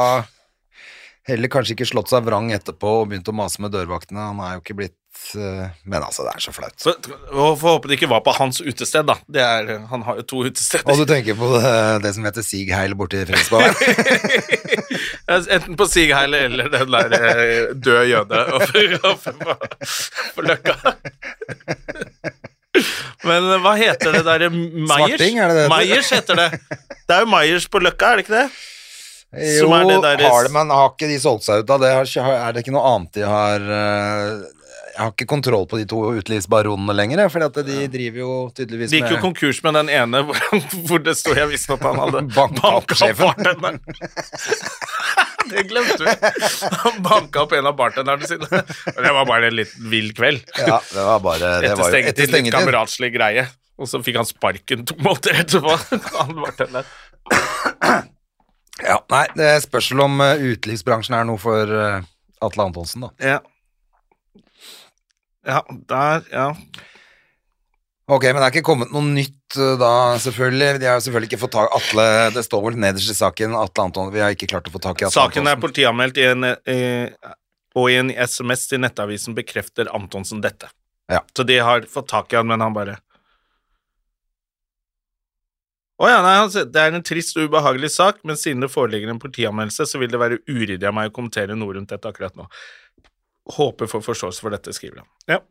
S1: heller kanskje ikke slått seg vrang etterpå og begynt å mase med dørvaktene. Han er jo ikke blitt eh, Men altså, det er så flaut.
S2: Så, og Får håpe det ikke var på hans utested, da. Det er, han har jo to utesteder.
S1: Og du tenker på det, det som heter Sig Heil borti Fredriksberg?
S2: Enten på Sig Heil eller den der eh, død jøde oppe- oppe på- på Løkka. Men eh, hva heter det derre Meyers?
S1: Svarting, er det det heter?
S2: Meyers heter det. Det er jo Meyers på Løkka, er det ikke det?
S1: Jo,
S2: Som er det der-
S1: har det, men har ikke de solgt seg ut av det? Har ikke- har- Er det ikke noe annet de har eh, Jeg har ikke kontroll på de to utelivsbaronene lenger, for de driver jo tydeligvis
S2: De gikk jo
S1: med
S2: konkurs med den ene hvor, han- hvor det sto jeg visste at han hadde
S1: Banka opp
S2: banka
S1: sjefen.
S2: bartenderen. Det glemte vi. Han banka opp en av bartenderne sine. Og Det var bare en litt vill kveld.
S1: Ja, det var bare det
S2: Etter
S1: var jo, Etter
S2: stengetid, litt
S1: stengetid.
S2: kameratslig greie. Og så fikk han sparken to måneder etterpå. Han bartenderen.
S1: Ja, nei, det er spørsmål om eh, utelivsbransjen er noe for eh, Atle Antonsen, da.
S2: Ja. ja, der, ja.
S1: Ok, men det er ikke kommet noe nytt eh, da, selvfølgelig. De har jo selvfølgelig ikke fått tak Atle Det står vel nederst i saken Atle Anton Vi har ikke klart å få tak i Atle
S2: Saken er
S1: Antonsen.
S2: politianmeldt i en, eh, og i en SMS til Nettavisen bekrefter Antonsen dette.
S1: Ja.
S2: Så de har fått tak i han, men han bare Å ja, nei, han sier, det er en trist og ubehagelig sak, men siden det foreligger en politianmeldelse, så vil det være uryddig av meg å kommentere noe rundt dette akkurat nå. Håper for forståelse for dette, skriver han. Ja.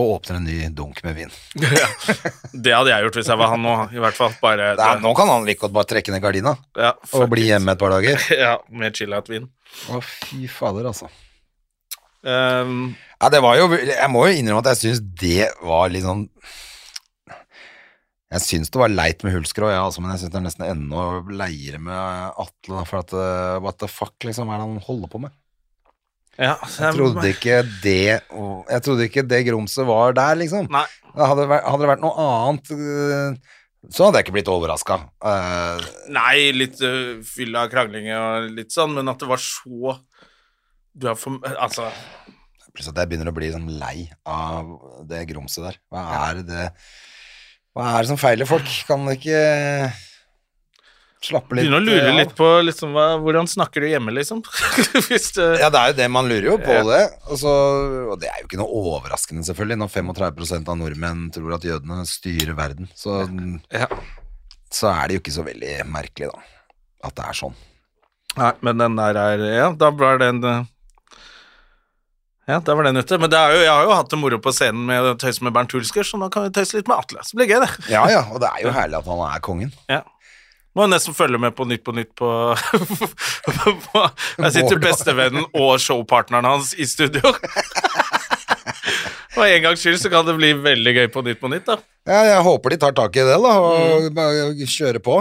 S1: Og åpner en ny dunk med vin.
S2: Det hadde jeg gjort hvis jeg var han nå, i hvert fall. Bare
S1: Det er, nå kan han like godt bare trekke ned gardina
S2: ja,
S1: og
S2: fuck
S1: bli
S2: it.
S1: hjemme et par dager.
S2: Ja, med chill-out-vin.
S1: Å, fy fader, altså.
S2: Um,
S1: Ja, det var jo Jeg må jo innrømme at jeg syns det var litt sånn Jeg syns det var leit med Hulskrå, ja, altså, men jeg syns det er nesten enda leiere med Atle, da, for at eh, What the fuck, liksom? Hva er det han holder på med?
S2: ja,
S1: Jeg trodde ikke det Jeg trodde ikke det grumset var der, liksom.
S2: Nei.
S1: Da Hadde, det vært- hadde det vært noe annet øh, så hadde jeg ikke blitt eh, overraska.
S2: Nei, litt øh, fyll av krangling og litt sånn, men at det var så Du er for Altså,
S1: plutselig at jeg begynner å bli sånn lei av det grumset der. Hva er det Hva er det som feiler folk? Kan det ikke slappe litt eh,
S2: begynner å lure
S1: av?
S2: litt på liksom, hva, hvordan snakker du hjemme, liksom. Hvis det,
S1: Ja, det er jo det. Man lurer jo på
S2: Ja.
S1: det. Og, så, og det er jo ikke noe overraskende, selvfølgelig, når 35 av nordmenn tror at jødene styrer verden. Så,
S2: Ja.
S1: så er det jo ikke så veldig merkelig, da. At det er sånn.
S2: Nei, men den der er Ja, da var den øh, Ja, da var den ute. Men det er jo, jeg har jo hatt det moro på scenen med å tøyse med Bernt Hulsker, så nå kan vi tøyse litt med Atle. Så blir det gøy, det.
S1: Ja, ja, og det er jo herlig at han er kongen.
S2: Ja. Må jo nesten følge med på Nytt på Nytt på, på Jeg sitter bestevennen og showpartneren hans i studio. Og en gangs skyld så kan det bli veldig gøy på Nytt på Nytt, da.
S1: Ja, jeg håper de tar tak i det, da, og bare kjører på.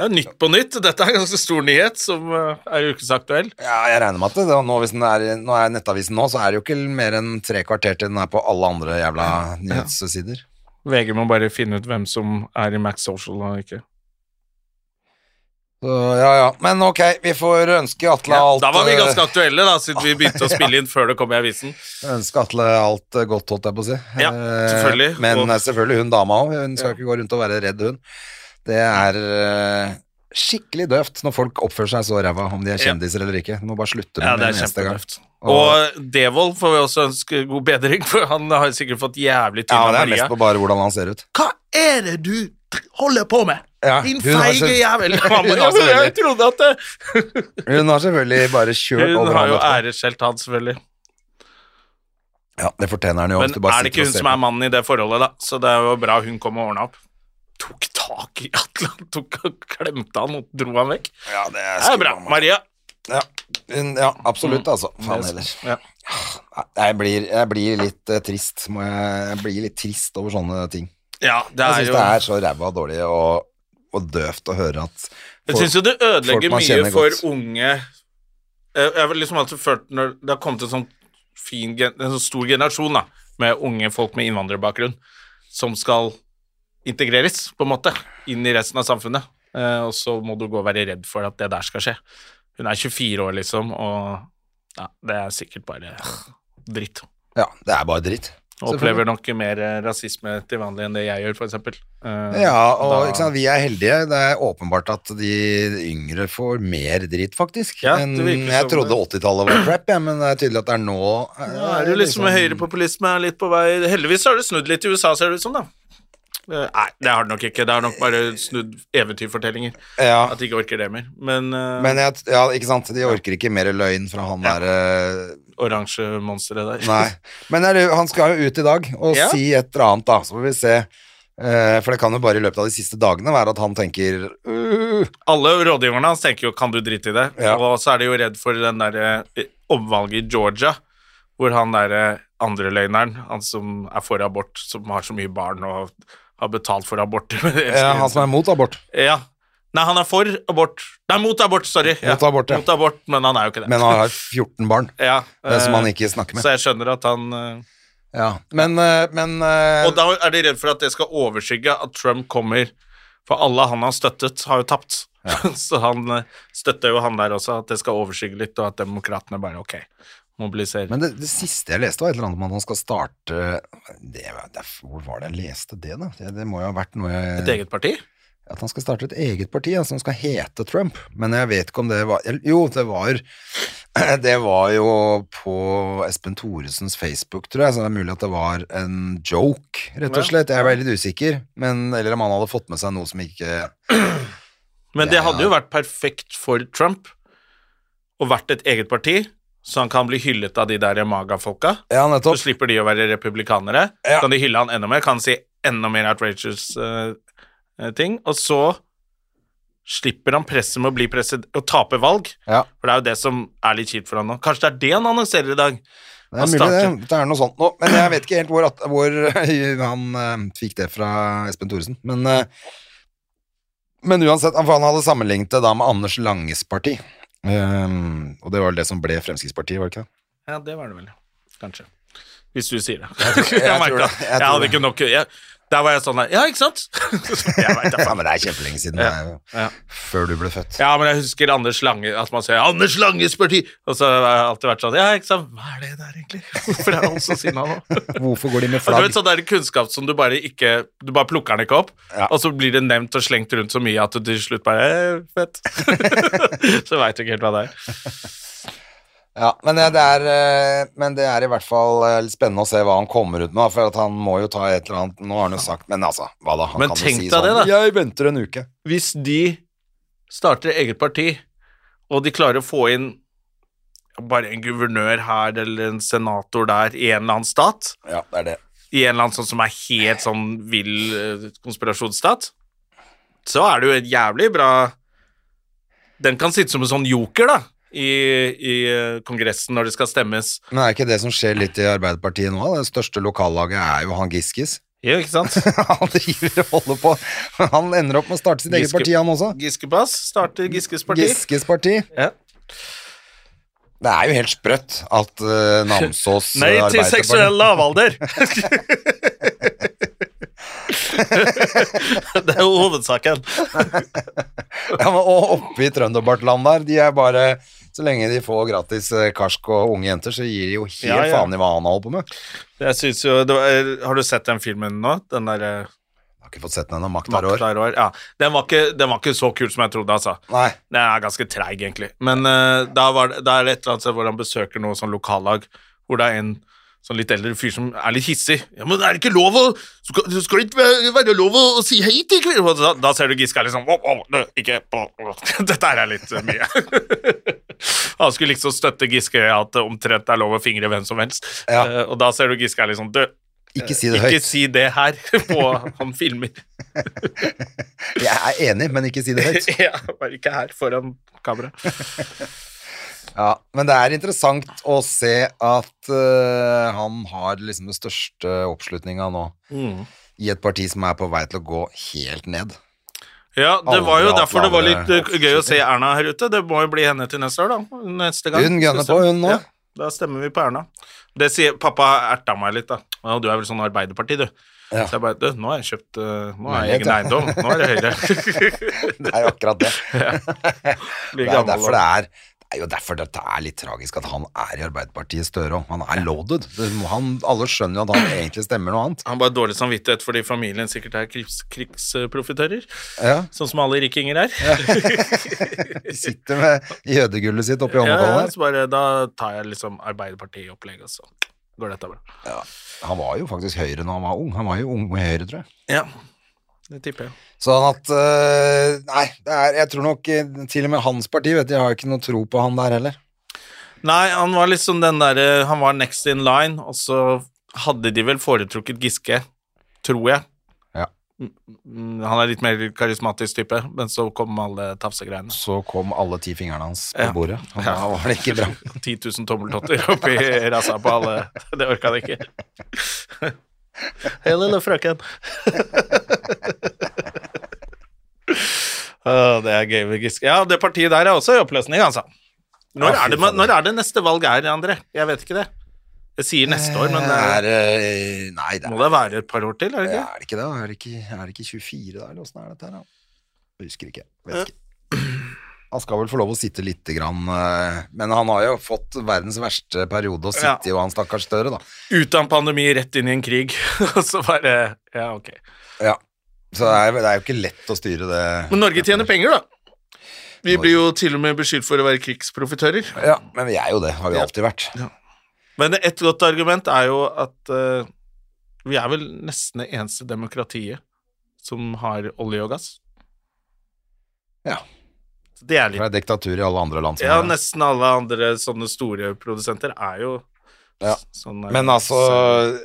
S2: Det er Nytt på Nytt. Dette er en ganske stor nyhet som eh, er ukesaktuell.
S1: Ja, jeg regner med at det, det nå, hvis den er, nå er nettavisen nå, så er det jo ikke mer enn tre kvarter til den er på alle andre jævla nyhetssider.
S2: VG må bare finne ut hvem som er i Max Social og ikke.
S1: Så ja, ja. Men ok, vi får ønske Atle alt
S2: da var vi
S1: eh,
S2: ganske aktuelle, da, siden vi begynte å spille inn før det kom i avisen.
S1: Ønske Atle alt eh, godt, holdt jeg på å si.
S2: Ja,
S1: Eh,
S2: selvfølgelig,
S1: Men
S2: og-
S1: eh, selvfølgelig hun dama òg. Hun skal ikke gå rundt og være redd, hun. Det er eh, skikkelig døvt når folk oppfører seg så ræva, om de er
S2: Ja.
S1: kjendiser eller ikke. Du må bare slutte med
S2: Ja, det
S1: det
S2: er
S1: neste gang.
S2: kjempeløft. Og Devold får vi også ønske god bedring, for han har sikkert fått jævlig tynn
S1: Ja,
S2: av
S1: det er
S2: Maria.
S1: mest på bare hvordan han ser ut.
S2: Hva er det du holder på med?
S1: Ja,
S2: Din
S1: hun har
S2: feige
S1: selv-
S2: jævel!
S1: Hun har
S2: Jeg,
S1: selvfølgelig-
S2: trodde at det
S1: Hun har selvfølgelig bare kjørt
S2: Hun
S1: over
S2: har jo
S1: han.
S2: æreskjelt han, selvfølgelig.
S1: Ja, det fortjener han jo.
S2: Men
S1: hvis du bare
S2: er det
S1: sitter
S2: ikke
S1: og
S2: hun
S1: ser
S2: som
S1: på.
S2: er mannen i det forholdet, da? Så det er jo bra hun kom og ordna opp. Tok tak i Atle, han tok og klemte han og dro han vekk.
S1: Ja, det er,
S2: Det er bra. Maria. Mm.
S1: Ja, hun, ja absolutt, altså. Faen heller.
S2: Ja.
S1: Nei, Jeg blir, jeg blir litt eh, trist. Må jeg, jeg blir litt trist over sånne ting.
S2: ja, det
S1: Jeg
S2: er
S1: syns
S2: jo
S1: det er så ræva dårlig og, og døvt å høre at
S2: Jeg syns jo det ødelegger
S1: folk man
S2: mye
S1: kjenner
S2: for
S1: godt.
S2: unge Jeg jeg har liksom alltid følt når det har kommet en sånn fin gen- en sånn stor generasjon da, med unge folk med innvandrerbakgrunn som skal integreres, på en måte, inn i resten av samfunnet. Eh, og så må du gå og være redd for at det der skal skje. Hun er 24 år, liksom, og ja, det er sikkert bare dritt.
S1: Ja, det er bare dritt.
S2: Og opplever nok mer eh, rasisme til vanlig enn det jeg gjør, Eh, f.eks.
S1: Ja, og ikke sant, vi er heldige. Det er åpenbart at de yngre får mer dritt, faktisk.
S2: Ja, det
S1: Men
S2: virker som
S1: jeg trodde
S2: det.
S1: 80-tallet var crap, ja, men det er tydelig at det er nå eh,
S2: Nå er det jo liksom høyrepopulisme er litt på vei Heldigvis har det snudd litt i USA, ser det ut som, da. Eh, Nei, det har det nok ikke. Det har nok bare snudd eventyrfortellinger.
S1: ja.
S2: At de ikke orker det mer. Men, eh,
S1: Men jeg, ja, ikke sant, de orker ikke mer løgn fra han der eh,
S2: oransje monsteret der.
S1: Nei. Men er, det- han skal jo ut i dag og
S2: Ja.
S1: si et eller annet, da. Så får vi se. Eh, for det kan jo bare i løpet av de siste dagene være at han tenker uh,
S2: Alle rådgiverne hans tenker jo 'kan du drite i det',
S1: Ja.
S2: og så er de jo redd for den der eh, omvalget i Georgia, hvor han derre andreløgneren, han som er for abort, som har så mye barn og har betalt for abort
S1: ja, Han som er mot abort.
S2: Ja. Nei, han er for abort. Nei, mot abort, sorry.
S1: Mot abort, ja.
S2: mot abort, men han er jo ikke det.
S1: Men han har 14 barn.
S2: ja,
S1: Det som
S2: eh,
S1: han ikke snakker med.
S2: Så jeg skjønner at han eh,
S1: Ja. Men, eh, men eh,
S2: Og da er de redd for at det skal overskygge at Trump kommer For alle han har støttet, har jo tapt. Så han eh, støtter jo han der også, at det skal overskygge litt, og at demokratene bare ok, mobiliserer.
S1: Men det, det siste jeg leste var et eller annet om at han skal starte det, var- det, er- Hvor var det jeg leste det, da? Det, det må jo ha vært noe jeg,
S2: Et eget parti?
S1: At han skal starte et eget parti ja, som skal hete Trump. Men jeg vet ikke om det var eller- Jo, det var Det var jo på Espen Thoresens Facebook, tror jeg, så det er mulig at det var en joke, rett og slett. Jeg ble litt usikker. Men, eller om han hadde fått med seg noe som ikke
S2: Men det hadde jo vært perfekt for Trump å vært et eget parti, så han kan bli hyllet av de der maga-folka.
S1: Ja,
S2: Så
S1: nettopp.
S2: slipper de å være republikanere.
S1: Ja.
S2: Kan de hylle han enda mer? Kan han si enda mer outrageous eh, eh, ting? Og så slipper han presset med å, bli presid- å tape valg.
S1: Ja,
S2: For det er jo det som er litt kjipt for han nå. Kanskje det er det han annonserer i dag?
S1: det er
S2: Han
S1: mulig
S2: starter-
S1: det. Det er noe sånt nå. Men jeg vet ikke helt hvor, at, hvor han eh, fikk det fra Espen Thoresen. Men, eh, men uansett, for han hadde sammenlignet det da med Anders Langes parti. Eh, og det var vel det som ble Fremskrittspartiet, var det ikke det?
S2: Ja, det var det vel. Kanskje. Hvis du sier det. Jeg, merker
S1: tror det.
S2: at
S1: Jeg
S2: jeg
S1: tror
S2: hadde
S1: det.
S2: ikke nok jeg, Der var jeg sånn her Ja, ikke sant? jeg vet det,
S1: Ja,
S2: faen.
S1: men det er kjempelenge siden.
S2: Ja,
S1: Det er jo
S2: ja.
S1: Før du ble født.
S2: Ja, men jeg husker Anders Lange At man sier 'Anders Langes parti', og så har jeg alltid vært sånn Ja, ikke sant? Hva er det der, egentlig? Hvorfor er han så sinna nå?
S1: Hvorfor går de med
S2: Og du
S1: flagg?
S2: vet sånn der kunnskap som du bare ikke Du bare plukker den ikke opp,
S1: Ja.
S2: og så blir det nevnt og slengt rundt så mye at du til slutt bare eh, Fett. så veit du ikke helt hva det er.
S1: Ja, men, eh, det er, eh, men det er i hvert fall eh, litt spennende å se hva han kommer ut med, da, for at han må jo ta et eller annet Nå har han jo sagt Men altså, hva da? Han
S2: Men
S1: kan jo
S2: tenk
S1: si sånn.
S2: deg det, da.
S1: Jeg venter en uke.
S2: Hvis de starter eget parti, og de klarer å få inn bare en guvernør her eller en senator der i en eller annen stat,
S1: Ja, det er det.
S2: i en eller annen sånn som er helt sånn vill eh, konspirasjonsstat, så er det jo et jævlig bra Den kan sitte som en sånn joker, da, i, i eh, Kongressen når det skal stemmes.
S1: Men er ikke det som skjer litt i Arbeiderpartiet nå? da? Det største lokallaget er jo han Giskis.
S2: Ja, ikke sant?
S1: han driver og holder på. Han ender opp med å starte sitt eget
S2: Giske-
S1: parti, han også.
S2: Giskepass starter Giskes parti.
S1: Giskes parti.
S2: Ja.
S1: Det er jo helt sprøtt at eh, Namsos
S2: Nei
S1: eh,
S2: til
S1: Arbeiderparti-
S2: seksuell lavalder! det er jo hovedsaken.
S1: Ja, men, og oppe i Trønderbartland der, de er bare Så lenge de får gratis eh, karsk og unge jenter, så gir de jo helt
S2: Ja, ja.
S1: faen i hva han holder på med. Jeg
S2: Jeg synes jo, det var, eh, Har du sett den filmen nå? Den derre
S1: har ikke fått sett den ennå. Makt er
S2: Makt
S1: år.
S2: er rår. Ja. Den, var ikke, den var ikke så kul som jeg trodde, altså.
S1: Nei.
S2: Den er ganske treig, egentlig. Men eh, da, var, det- da er det et eller annet sted hvor han besøker noe sånn lokallag, hvor det er en sånn litt eldre fyr som er litt hissig. Ja, men er det ikke lov å Skal, skal det ikke være- være lov å, å si hei til kvinner? Og Da, da ser du Giske er litt sånn «Å, å, det- Ikke å, å». Dette her er litt eh, mye. han skulle liksom støtte Giske i at det omtrent er lov å fingre hvem som helst.
S1: Ja.
S2: Eh, og da ser du Giske er litt sånn Død.
S1: Ikke si det
S2: Ikke
S1: høyt.
S2: si det her på Han filmer.
S1: Jeg er enig, men ikke si det høyt.
S2: ja, bare ikke her foran kamera.
S1: Ja, men det er interessant å se at eh, han har liksom den største oppslutninga nå
S2: Mm.
S1: i et parti som er på vei til å gå helt ned.
S2: Ja, det
S1: Aldri
S2: var jo
S1: hatt
S2: derfor det var
S1: lavere
S2: litt uh, gøy å se Erna her ute. Det må jo bli henne til neste år, da. Neste gang.
S1: Hun gønner
S2: Skal vi se.
S1: på, hun nå.
S2: Ja, da stemmer vi på Erna. Det sier Pappa erta meg litt, da. Å, du er vel sånn Arbeiderparti, du.
S1: Ja.
S2: Så jeg bare Du, nå har jeg kjøpt uh, Nå har
S1: Leilighet,
S2: jeg egen
S1: ja.
S2: eiendom. Nå er det Høyre.
S1: Det er jo akkurat det.
S2: Blir
S1: Det er
S2: gammel og-
S1: derfor det er, er jo derfor dette er litt tragisk at han er i Arbeiderpartiet Støre òg. Han er loaded. Det må- Han, alle skjønner jo at han egentlig stemmer noe annet.
S2: Han har bare dårlig samvittighet fordi familien sikkert er krigs, krigsprofitører.
S1: Ja,
S2: Sånn som alle rikinger er.
S1: Sitter med jødegullet sitt oppi
S2: Ja,
S1: håndballen der.
S2: så bare, da tar jeg liksom Arbeiderparti-opplegg, og så går dette bra.
S1: Han var jo faktisk Høyre når han var ung. Han var jo ung med Høyre, tror jeg.
S2: Ja, det tipper jeg.
S1: Sånn at øh, Nei, det er, jeg tror nok eh, til og med hans parti vet du, Jeg har ikke noe tro på han der heller.
S2: Nei, han var liksom den derre Han var next in line, og så hadde de vel foretrukket Giske, tror jeg.
S1: Ja.
S2: Mm, Han er litt mer karismatisk type, men så kom alle tafsegreiene.
S1: Så kom alle ti fingrene hans på
S2: Ja.
S1: bordet, og
S2: Ja.
S1: da var det ikke bra.
S2: 10 000 tommeltotter oppi rassa på alle. Det orka han ikke. Hei, lille frøken. Å, det er gøy med Giske. Ja, det partiet der er også i oppløsning, altså. Når,
S1: Ja, fy
S2: er, det,
S1: faen.
S2: når er det neste valg er, André? Jeg vet ikke det. Jeg sier neste år, men
S1: Det er eh, Nei, det
S2: Må
S1: er,
S2: det være et par år til, er det
S1: er
S2: ikke?
S1: det ikke det? Er det ikke, er det ikke 24 da, eller åssen er dette her, da? Jeg Husker ikke. Vet ikke. Han skal vel få lov å sitte lite grann, eh, men han har jo fått verdens verste periode å
S2: Ja.
S1: sitte i, og han stakkars Støre, da.
S2: Ut av en pandemi, rett inn i en krig, og så bare Ja, ok.
S1: Ja. Så det er, det er jo ikke lett å styre det.
S2: Men Norge tjener penger, da. Vi
S1: Norge.
S2: blir jo til og med beskyldt for å være krigsprofitører.
S1: Ja, men vi er jo det, har vi
S2: Ja.
S1: alltid vært.
S2: Men et godt argument er jo at eh, vi er vel nesten det eneste demokratiet som har olje og gass.
S1: Ja.
S2: Så Det er
S1: For det
S2: litt
S1: er diktatur i alle andre land. som
S2: Ja,
S1: er det.
S2: nesten alle andre sånne store produsenter er jo
S1: Ja.
S2: sånn
S1: Men altså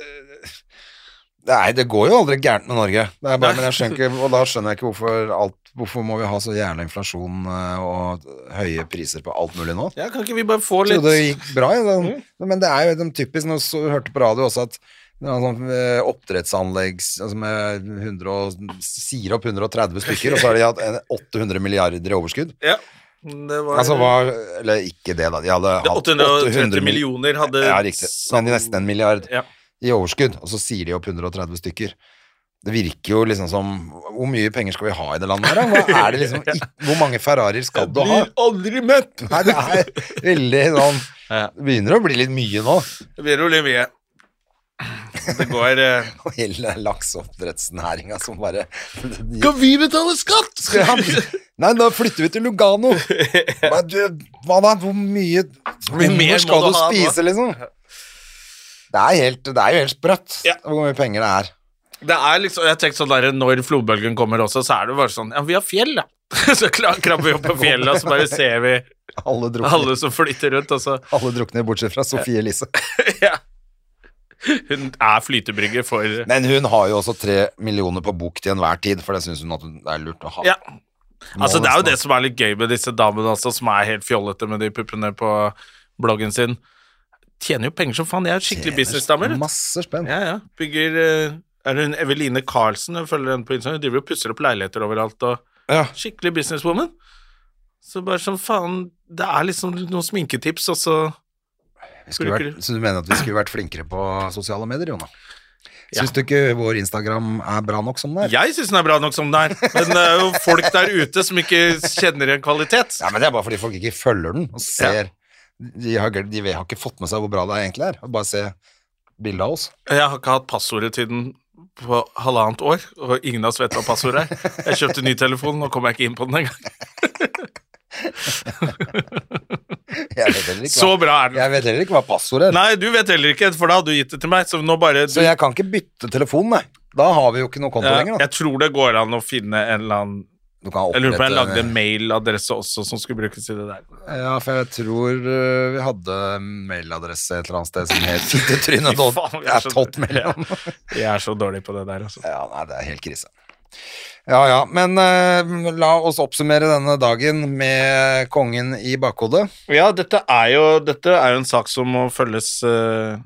S1: Nei, det går jo aldri gærent med Norge. Det er bare, men jeg skjønner ikke, og da skjønner jeg ikke hvorfor alt Hvorfor må vi ha så jævla inflasjon eh, og høye priser på alt mulig nå?
S2: Ja, kan ikke vi bare få
S1: Jeg
S2: litt Mm.
S1: trodde det gikk bra, ja, den- men det er jo de typisk Nå så, hørte på radio også at det var sånn eh, oppdrettsanlegg s- altså med 100 og, sier opp 130 stykker, og så har de hatt eh, 800 milliarder i overskudd.
S2: Ja. Det var
S1: Altså var Eller ikke det, da. De hadde
S2: Det
S1: hatt
S2: 830
S1: mil-
S2: millioner hadde
S1: Ja, riktig. Men nesten en milliard
S2: Ja.
S1: i overskudd, og så sier de opp 130 stykker. Det virker jo liksom som Hvor mye penger skal vi ha i det landet her, da? Hva er det liksom, ikk- hvor mange Ferrarier skal du ha?
S2: Blir aldri mett!
S1: Nei, det er veldig sånn
S2: Ja.
S1: Det begynner å bli litt mye nå.
S2: Det blir jo litt mye. Det går eh,
S1: Og hele lakseoppdrettsnæringa som bare
S2: Skal vi betale skatt?!
S1: Nei, da flytter vi til Lugano! Hva, du, hva da? Hvor
S2: mye
S1: mye
S2: mer må
S1: hummer skal
S2: du ha,
S1: du
S2: da?
S1: spise, liksom? Det er, helt, det er jo helt sprøtt
S2: Ja.
S1: hvor mye penger det er.
S2: Det er liksom, jeg tenkte sånn der, Når flodbølgen kommer også, så er det bare sånn Ja, vi har fjell, da! Så kla- krabber vi opp på fjellet, og så bare ser vi
S1: Alle drukner,
S2: alle som flyter rundt, og så
S1: alle drukner bortsett fra Sofie Elise.
S2: Ja. Hun er flytebrygge for
S1: Men hun har jo også tre millioner på bok til enhver tid, for det syns hun at det er lurt å ha.
S2: Ja.
S1: Må
S2: Altså, det er jo
S1: nesten
S2: det som er litt gøy med disse damene også, som er helt fjollete med de puppene på bloggen sin. Tjener jo penger som faen. De er jo skikkelig
S1: tjene
S2: businessdamer. vet du.
S1: Masse spenn.
S2: Ja, ja. Bygger eh, Er hun Eveline Karlsen? Jeg følger henne på Instagram. Hun driver og pusser opp leiligheter overalt og
S1: Ja.
S2: Skikkelig businesswoman. Så bare sånn, faen Det er liksom noen sminketips, og så
S1: Vi skulle
S2: Bruker
S1: vært, så du mener at vi skulle vært flinkere på sosiale medier, Jonna?
S2: Ja.
S1: Syns du ikke vår Instagram er bra nok som den er?
S2: Jeg syns den er bra nok som den er, men det er jo folk der ute som ikke kjenner igjen kvalitet.
S1: Ja, men det er bare fordi folk ikke følger den og ser de, har, glemt- de har ikke fått med seg hvor bra det egentlig er. Bare se bildet av oss.
S2: Jeg har ikke hatt passordet til den på halvannet år, og ingen har svett hva passordet er. Jeg kjøpte ny telefon, nå kom jeg ikke inn på den engang.
S1: Jeg vet heller ikke
S2: Så
S1: hva,
S2: bra er den.
S1: jeg vet heller ikke hva passordet er.
S2: Nei, du vet heller ikke, for da hadde du gitt det til meg, så nå bare
S1: Så jeg kan ikke bytte telefon, nei. Da har vi jo ikke noe konto
S2: Ja,
S1: lenger. Da.
S2: Jeg tror det går an å finne en eller annen
S1: Du kan
S2: Jeg lurer på om jeg
S1: opprette-
S2: lagde en mailadresse også som skulle brukes i det der.
S1: Ja, for jeg tror øh, vi hadde mailadresse et eller annet sted som het
S2: Fy faen, vi er så-
S1: fittetrynet.com.
S2: Jeg er så dårlig på det der, altså.
S1: Ja, nei, det er helt krise. Ja, ja, men øh, la oss oppsummere denne dagen med kongen i bakhodet.
S2: Ja, dette er jo, dette er jo en sak som må følges eh,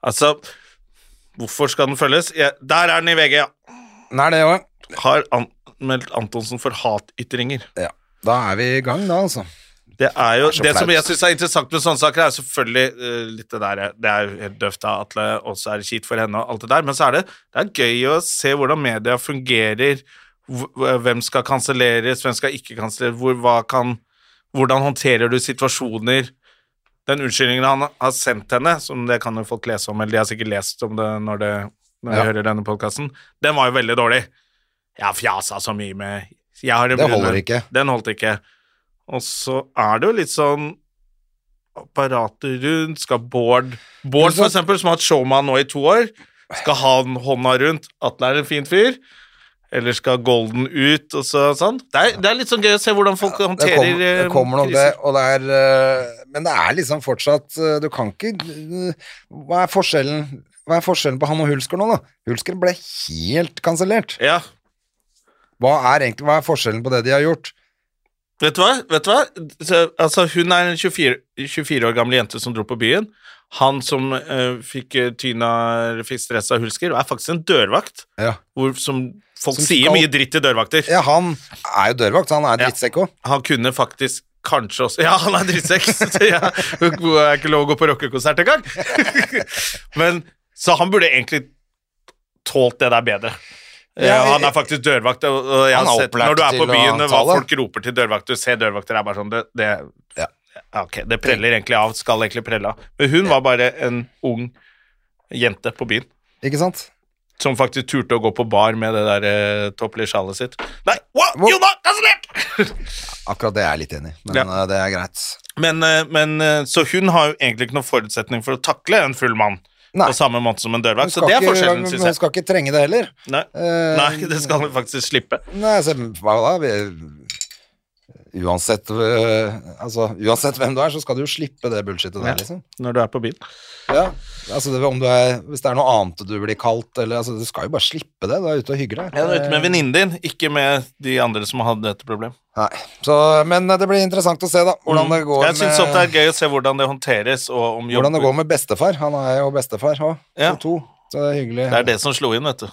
S2: Altså, hvorfor skal den følges? Jeg, der er den i VG, ja.
S1: Nei, det òg.
S2: Har anmeldt Antonsen for hatytringer.
S1: Ja. Da er vi i gang, da, altså.
S2: Det er jo
S1: Det er så
S2: Det som
S1: flaut.
S2: jeg syns er interessant med sånne saker, er selvfølgelig eh, litt det der Det er jo helt døvt av Atle, og så er det kjipt for henne og alt det der, men så er det, det er gøy å se hvordan media fungerer. Hv- Hvem skal kanselleres, hvem skal ikke kanselleres, hvor, hva kan Hvordan håndterer du situasjoner? Den unnskyldningen han har sendt henne, som det kan jo folk lese om, eller de har sikkert lest om det når de, når de
S1: Ja.
S2: hører denne podkasten, den var jo veldig dårlig. Jeg har fjasa så mye med jeg har en
S1: Det
S2: brun
S1: holder
S2: øl.
S1: ikke.
S2: Den holdt ikke. Og så er det jo litt sånn apparatet rundt, skal Bård Bård for eksempel, som har hatt showman nå i to år, skal han hånda rundt, Atle er en fin fyr, eller skal Golden ut, og så sånn. Det er, det er litt sånn gøy å se hvordan folk
S1: Det
S2: håndterer
S1: kommer, det
S2: eh,
S1: kommer noe om det,
S2: kriser.
S1: og det er eh, Men det er liksom fortsatt eh, Du kan ikke eh, Hva er forskjellen Hva er forskjellen på han og Hulsker nå, da? Hulsker ble helt kansellert.
S2: Ja.
S1: Hva er egentlig Hva er forskjellen på det de har gjort?
S2: Vet du hva? Vet du hva? Så, Altså, hun er en 24, 24 år gammel jente som dro på byen. Han som eh, fikk eh, tyna eller fikk stress av Hulsker, er faktisk en dørvakt.
S1: Ja.
S2: Hvor, som folk
S1: Som
S2: sier
S1: skal-
S2: mye dritt til dørvakter.
S1: ja, han er jo dørvakt, så han er
S2: Ja.
S1: drittsekk òg.
S2: Han kunne faktisk kanskje også Ja, han er drittsekk, så jeg jeg er ikke lov å gå på rockekonsert engang. Men Så han burde egentlig tålt det der bedre.
S1: Ja,
S2: Ja, han er faktisk dørvakt. og- Og jeg
S1: Han er
S2: har sett,
S1: opplært
S2: når du er på
S1: til å
S2: byen, hva
S1: tale.
S2: folk roper til dørvakter, ser dørvakter, er bare sånn Det, det,
S1: Ja.
S2: Ja, ok, det preller egentlig av. Skal egentlig prelle av. Men hun var bare en ung jente på byen
S1: Ikke sant?
S2: som faktisk turte å gå på bar med det der eh, toppelige sjalet sitt. Nei, wow,
S1: Hvor-
S2: Jonna, kansellert!
S1: Akkurat det er jeg litt enig i, men
S2: Ja.
S1: eh, det er greit.
S2: Men, eh, men eh, Så hun har jo egentlig ikke noen forutsetning for å takle en full mann
S1: Nei.
S2: på samme måte som en dørvakt. Så
S1: skal
S2: Altså, det er
S1: ikke-
S2: forskjellen,
S1: hun
S2: syns jeg.
S1: skal ikke trenge det heller.
S2: Nei.
S1: Eh,
S2: Nei, det skal hun faktisk slippe.
S1: Nei, altså, hva da? Vi, uansett, øh, altså, uansett hvem du er, så skal du jo slippe det bullshitet der, liksom.
S2: Når du er på byen.
S1: Ja. Altså, det, om du er, hvis det er noe annet du blir kalt, eller altså, Du skal jo bare slippe det. Du er ute og hygger deg.
S2: Jeg var ute
S1: Eh,
S2: med venninnen din, ikke med de andre som hadde dette problemet.
S1: Nei. Så, men eh, det blir interessant å se, da, hvordan det går
S2: Mm. jeg syns det er gøy å se hvordan det håndteres. Og om
S1: hvordan det
S2: jobb-
S1: går med bestefar. Han er jo bestefar òg,
S2: Ja.
S1: to. Så det er hyggelig.
S2: Det er det som slo inn, vet du.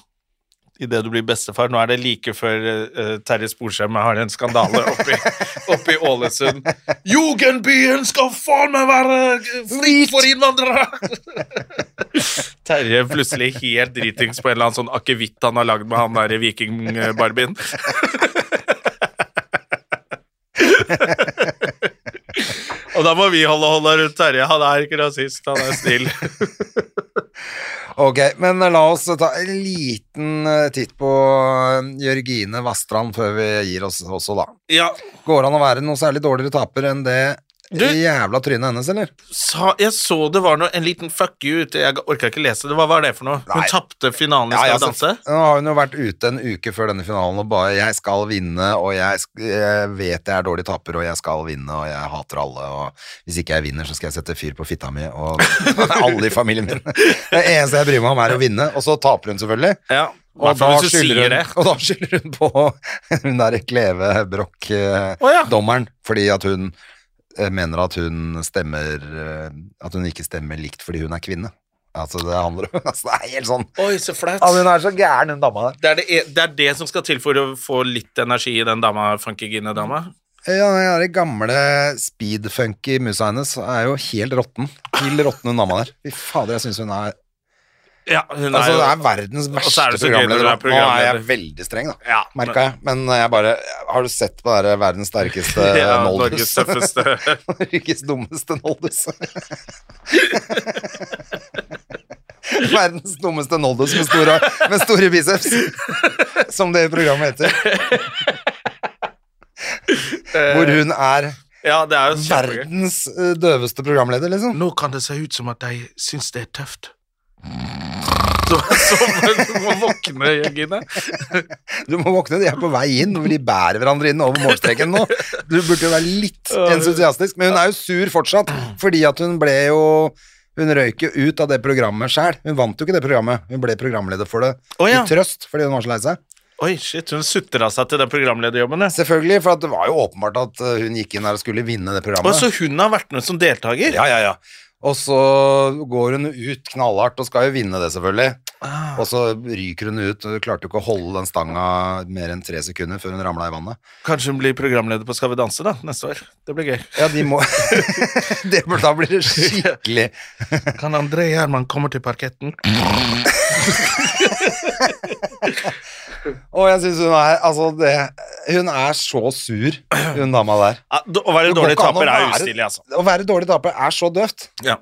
S2: Idet du blir bestefar. Nå er det like før eh, Terje Sporsem har en skandale oppe i- oppe i Ålesund. Jugendbyen skal faen meg være eh, fri for innvandrere! Terje plutselig helt dritings på en eller annen sånn akevitt han har lagd med han derre vikingbarbien. Og da må vi holde hånda rundt Terje. Han er ikke rasist, han er snill.
S1: Ok, men la oss ta en liten eh, titt på eh, Jørgine Vastrand før vi gir oss også, da.
S2: Ja,
S1: Går an å være noe særlig dårligere taper enn det
S2: Du-
S1: jævla trynet hennes, eller?
S2: sa, jeg så det var noe, en liten fuck you ute, jeg orka ikke lese det. Hva var det for noe?
S1: Nei.
S2: Hun tapte finalen i Skal vi danse?
S1: altså, Nå har hun jo vært ute en uke før denne finalen og bare 'jeg skal vinne', og jeg, sk- jeg vet jeg er dårlig taper, og jeg skal vinne, og jeg hater alle, og hvis ikke jeg vinner, så skal jeg sette fyr på fitta mi og alle i familien min. Det eneste jeg bryr meg om, er å vinne, og så taper hun selvfølgelig.
S2: Ja,
S1: Og da,
S2: hvis du
S1: skylder
S2: sier
S1: hun,
S2: det.
S1: og da skylder hun på hun der Kleve
S2: Å, ja.
S1: Brokk-dommeren, fordi at hun eh, mener at hun stemmer eh, At hun ikke stemmer likt fordi hun er kvinne. Altså, det handler om altså, Det er helt sånn
S2: Oi, så flaut.
S1: Ja, Hun er så gæren, hun dama der.
S2: Det er det, e, det er det som skal til for å få litt energi i den dama, funkygine-dama.
S1: Ja, den der gamle speedfunky musa hennes er jo helt råtten. Helt råtten, hun dama der. Fy fader, jeg syns hun er
S2: Ja, hun er
S1: Altså,
S2: jo
S1: det er verdens
S2: Og så
S1: verste
S2: er det så gøy når
S1: programleder.
S2: du er
S1: da. Nå er jeg
S2: programleder.
S1: veldig streng, da.
S2: Ja, men-
S1: Merka jeg. Men jeg bare Har du sett på det der verdens sterkeste
S2: Ja, Norges
S1: Noldus?
S2: tøffeste.
S1: Norges dummeste Noldus. verdens dummeste Noldus med store, med store biceps, som det programmet heter. Hvor hun er
S2: Ja, det er jo kjempegøy.
S1: verdens eh, døveste programleder, liksom.
S2: Nå kan det se ut som at de syns det er tøft. Så, så du må våkne, Jørgine.
S1: Du må våkne, de er på vei inn, hvor de bærer hverandre inn over målstreken nå. Du burde jo være litt entusiastisk, men hun er jo sur fortsatt, fordi at hun ble jo Hun røyk jo ut av det programmet sjæl. Hun vant jo ikke det programmet, hun ble programleder for det
S2: Å, ja.
S1: i trøst, fordi hun var så lei seg.
S2: Oi, shit, hun sutra seg til den programlederjobben. ja.
S1: Selvfølgelig, for at det var jo åpenbart at eh, hun gikk inn her og skulle vinne det
S2: Og
S1: programmet.
S2: så hun har vært med som deltaker?
S1: Ja, ja, ja. Og så går hun ut knallhardt og skal jo vinne det, selvfølgelig.
S2: Ah.
S1: Og så ryker hun ut, og hun klarte jo ikke å holde den stanga mer enn tre sekunder før hun ramla i vannet.
S2: Kanskje hun blir programleder på Skal vi danse da, neste år. Det blir gøy.
S1: Ja, de må det, må- Da blir det skikkelig
S2: Kan André Gjerman komme til parketten?
S1: Og jeg syns hun er Altså, det hun er så sur, hun dama der.
S2: Ja, d- Å være
S1: Det går
S2: dårlig
S1: ikke an å
S2: taper er
S1: være-
S2: ustilig, altså.
S1: Å være dårlig taper er så døvt.
S2: Ja.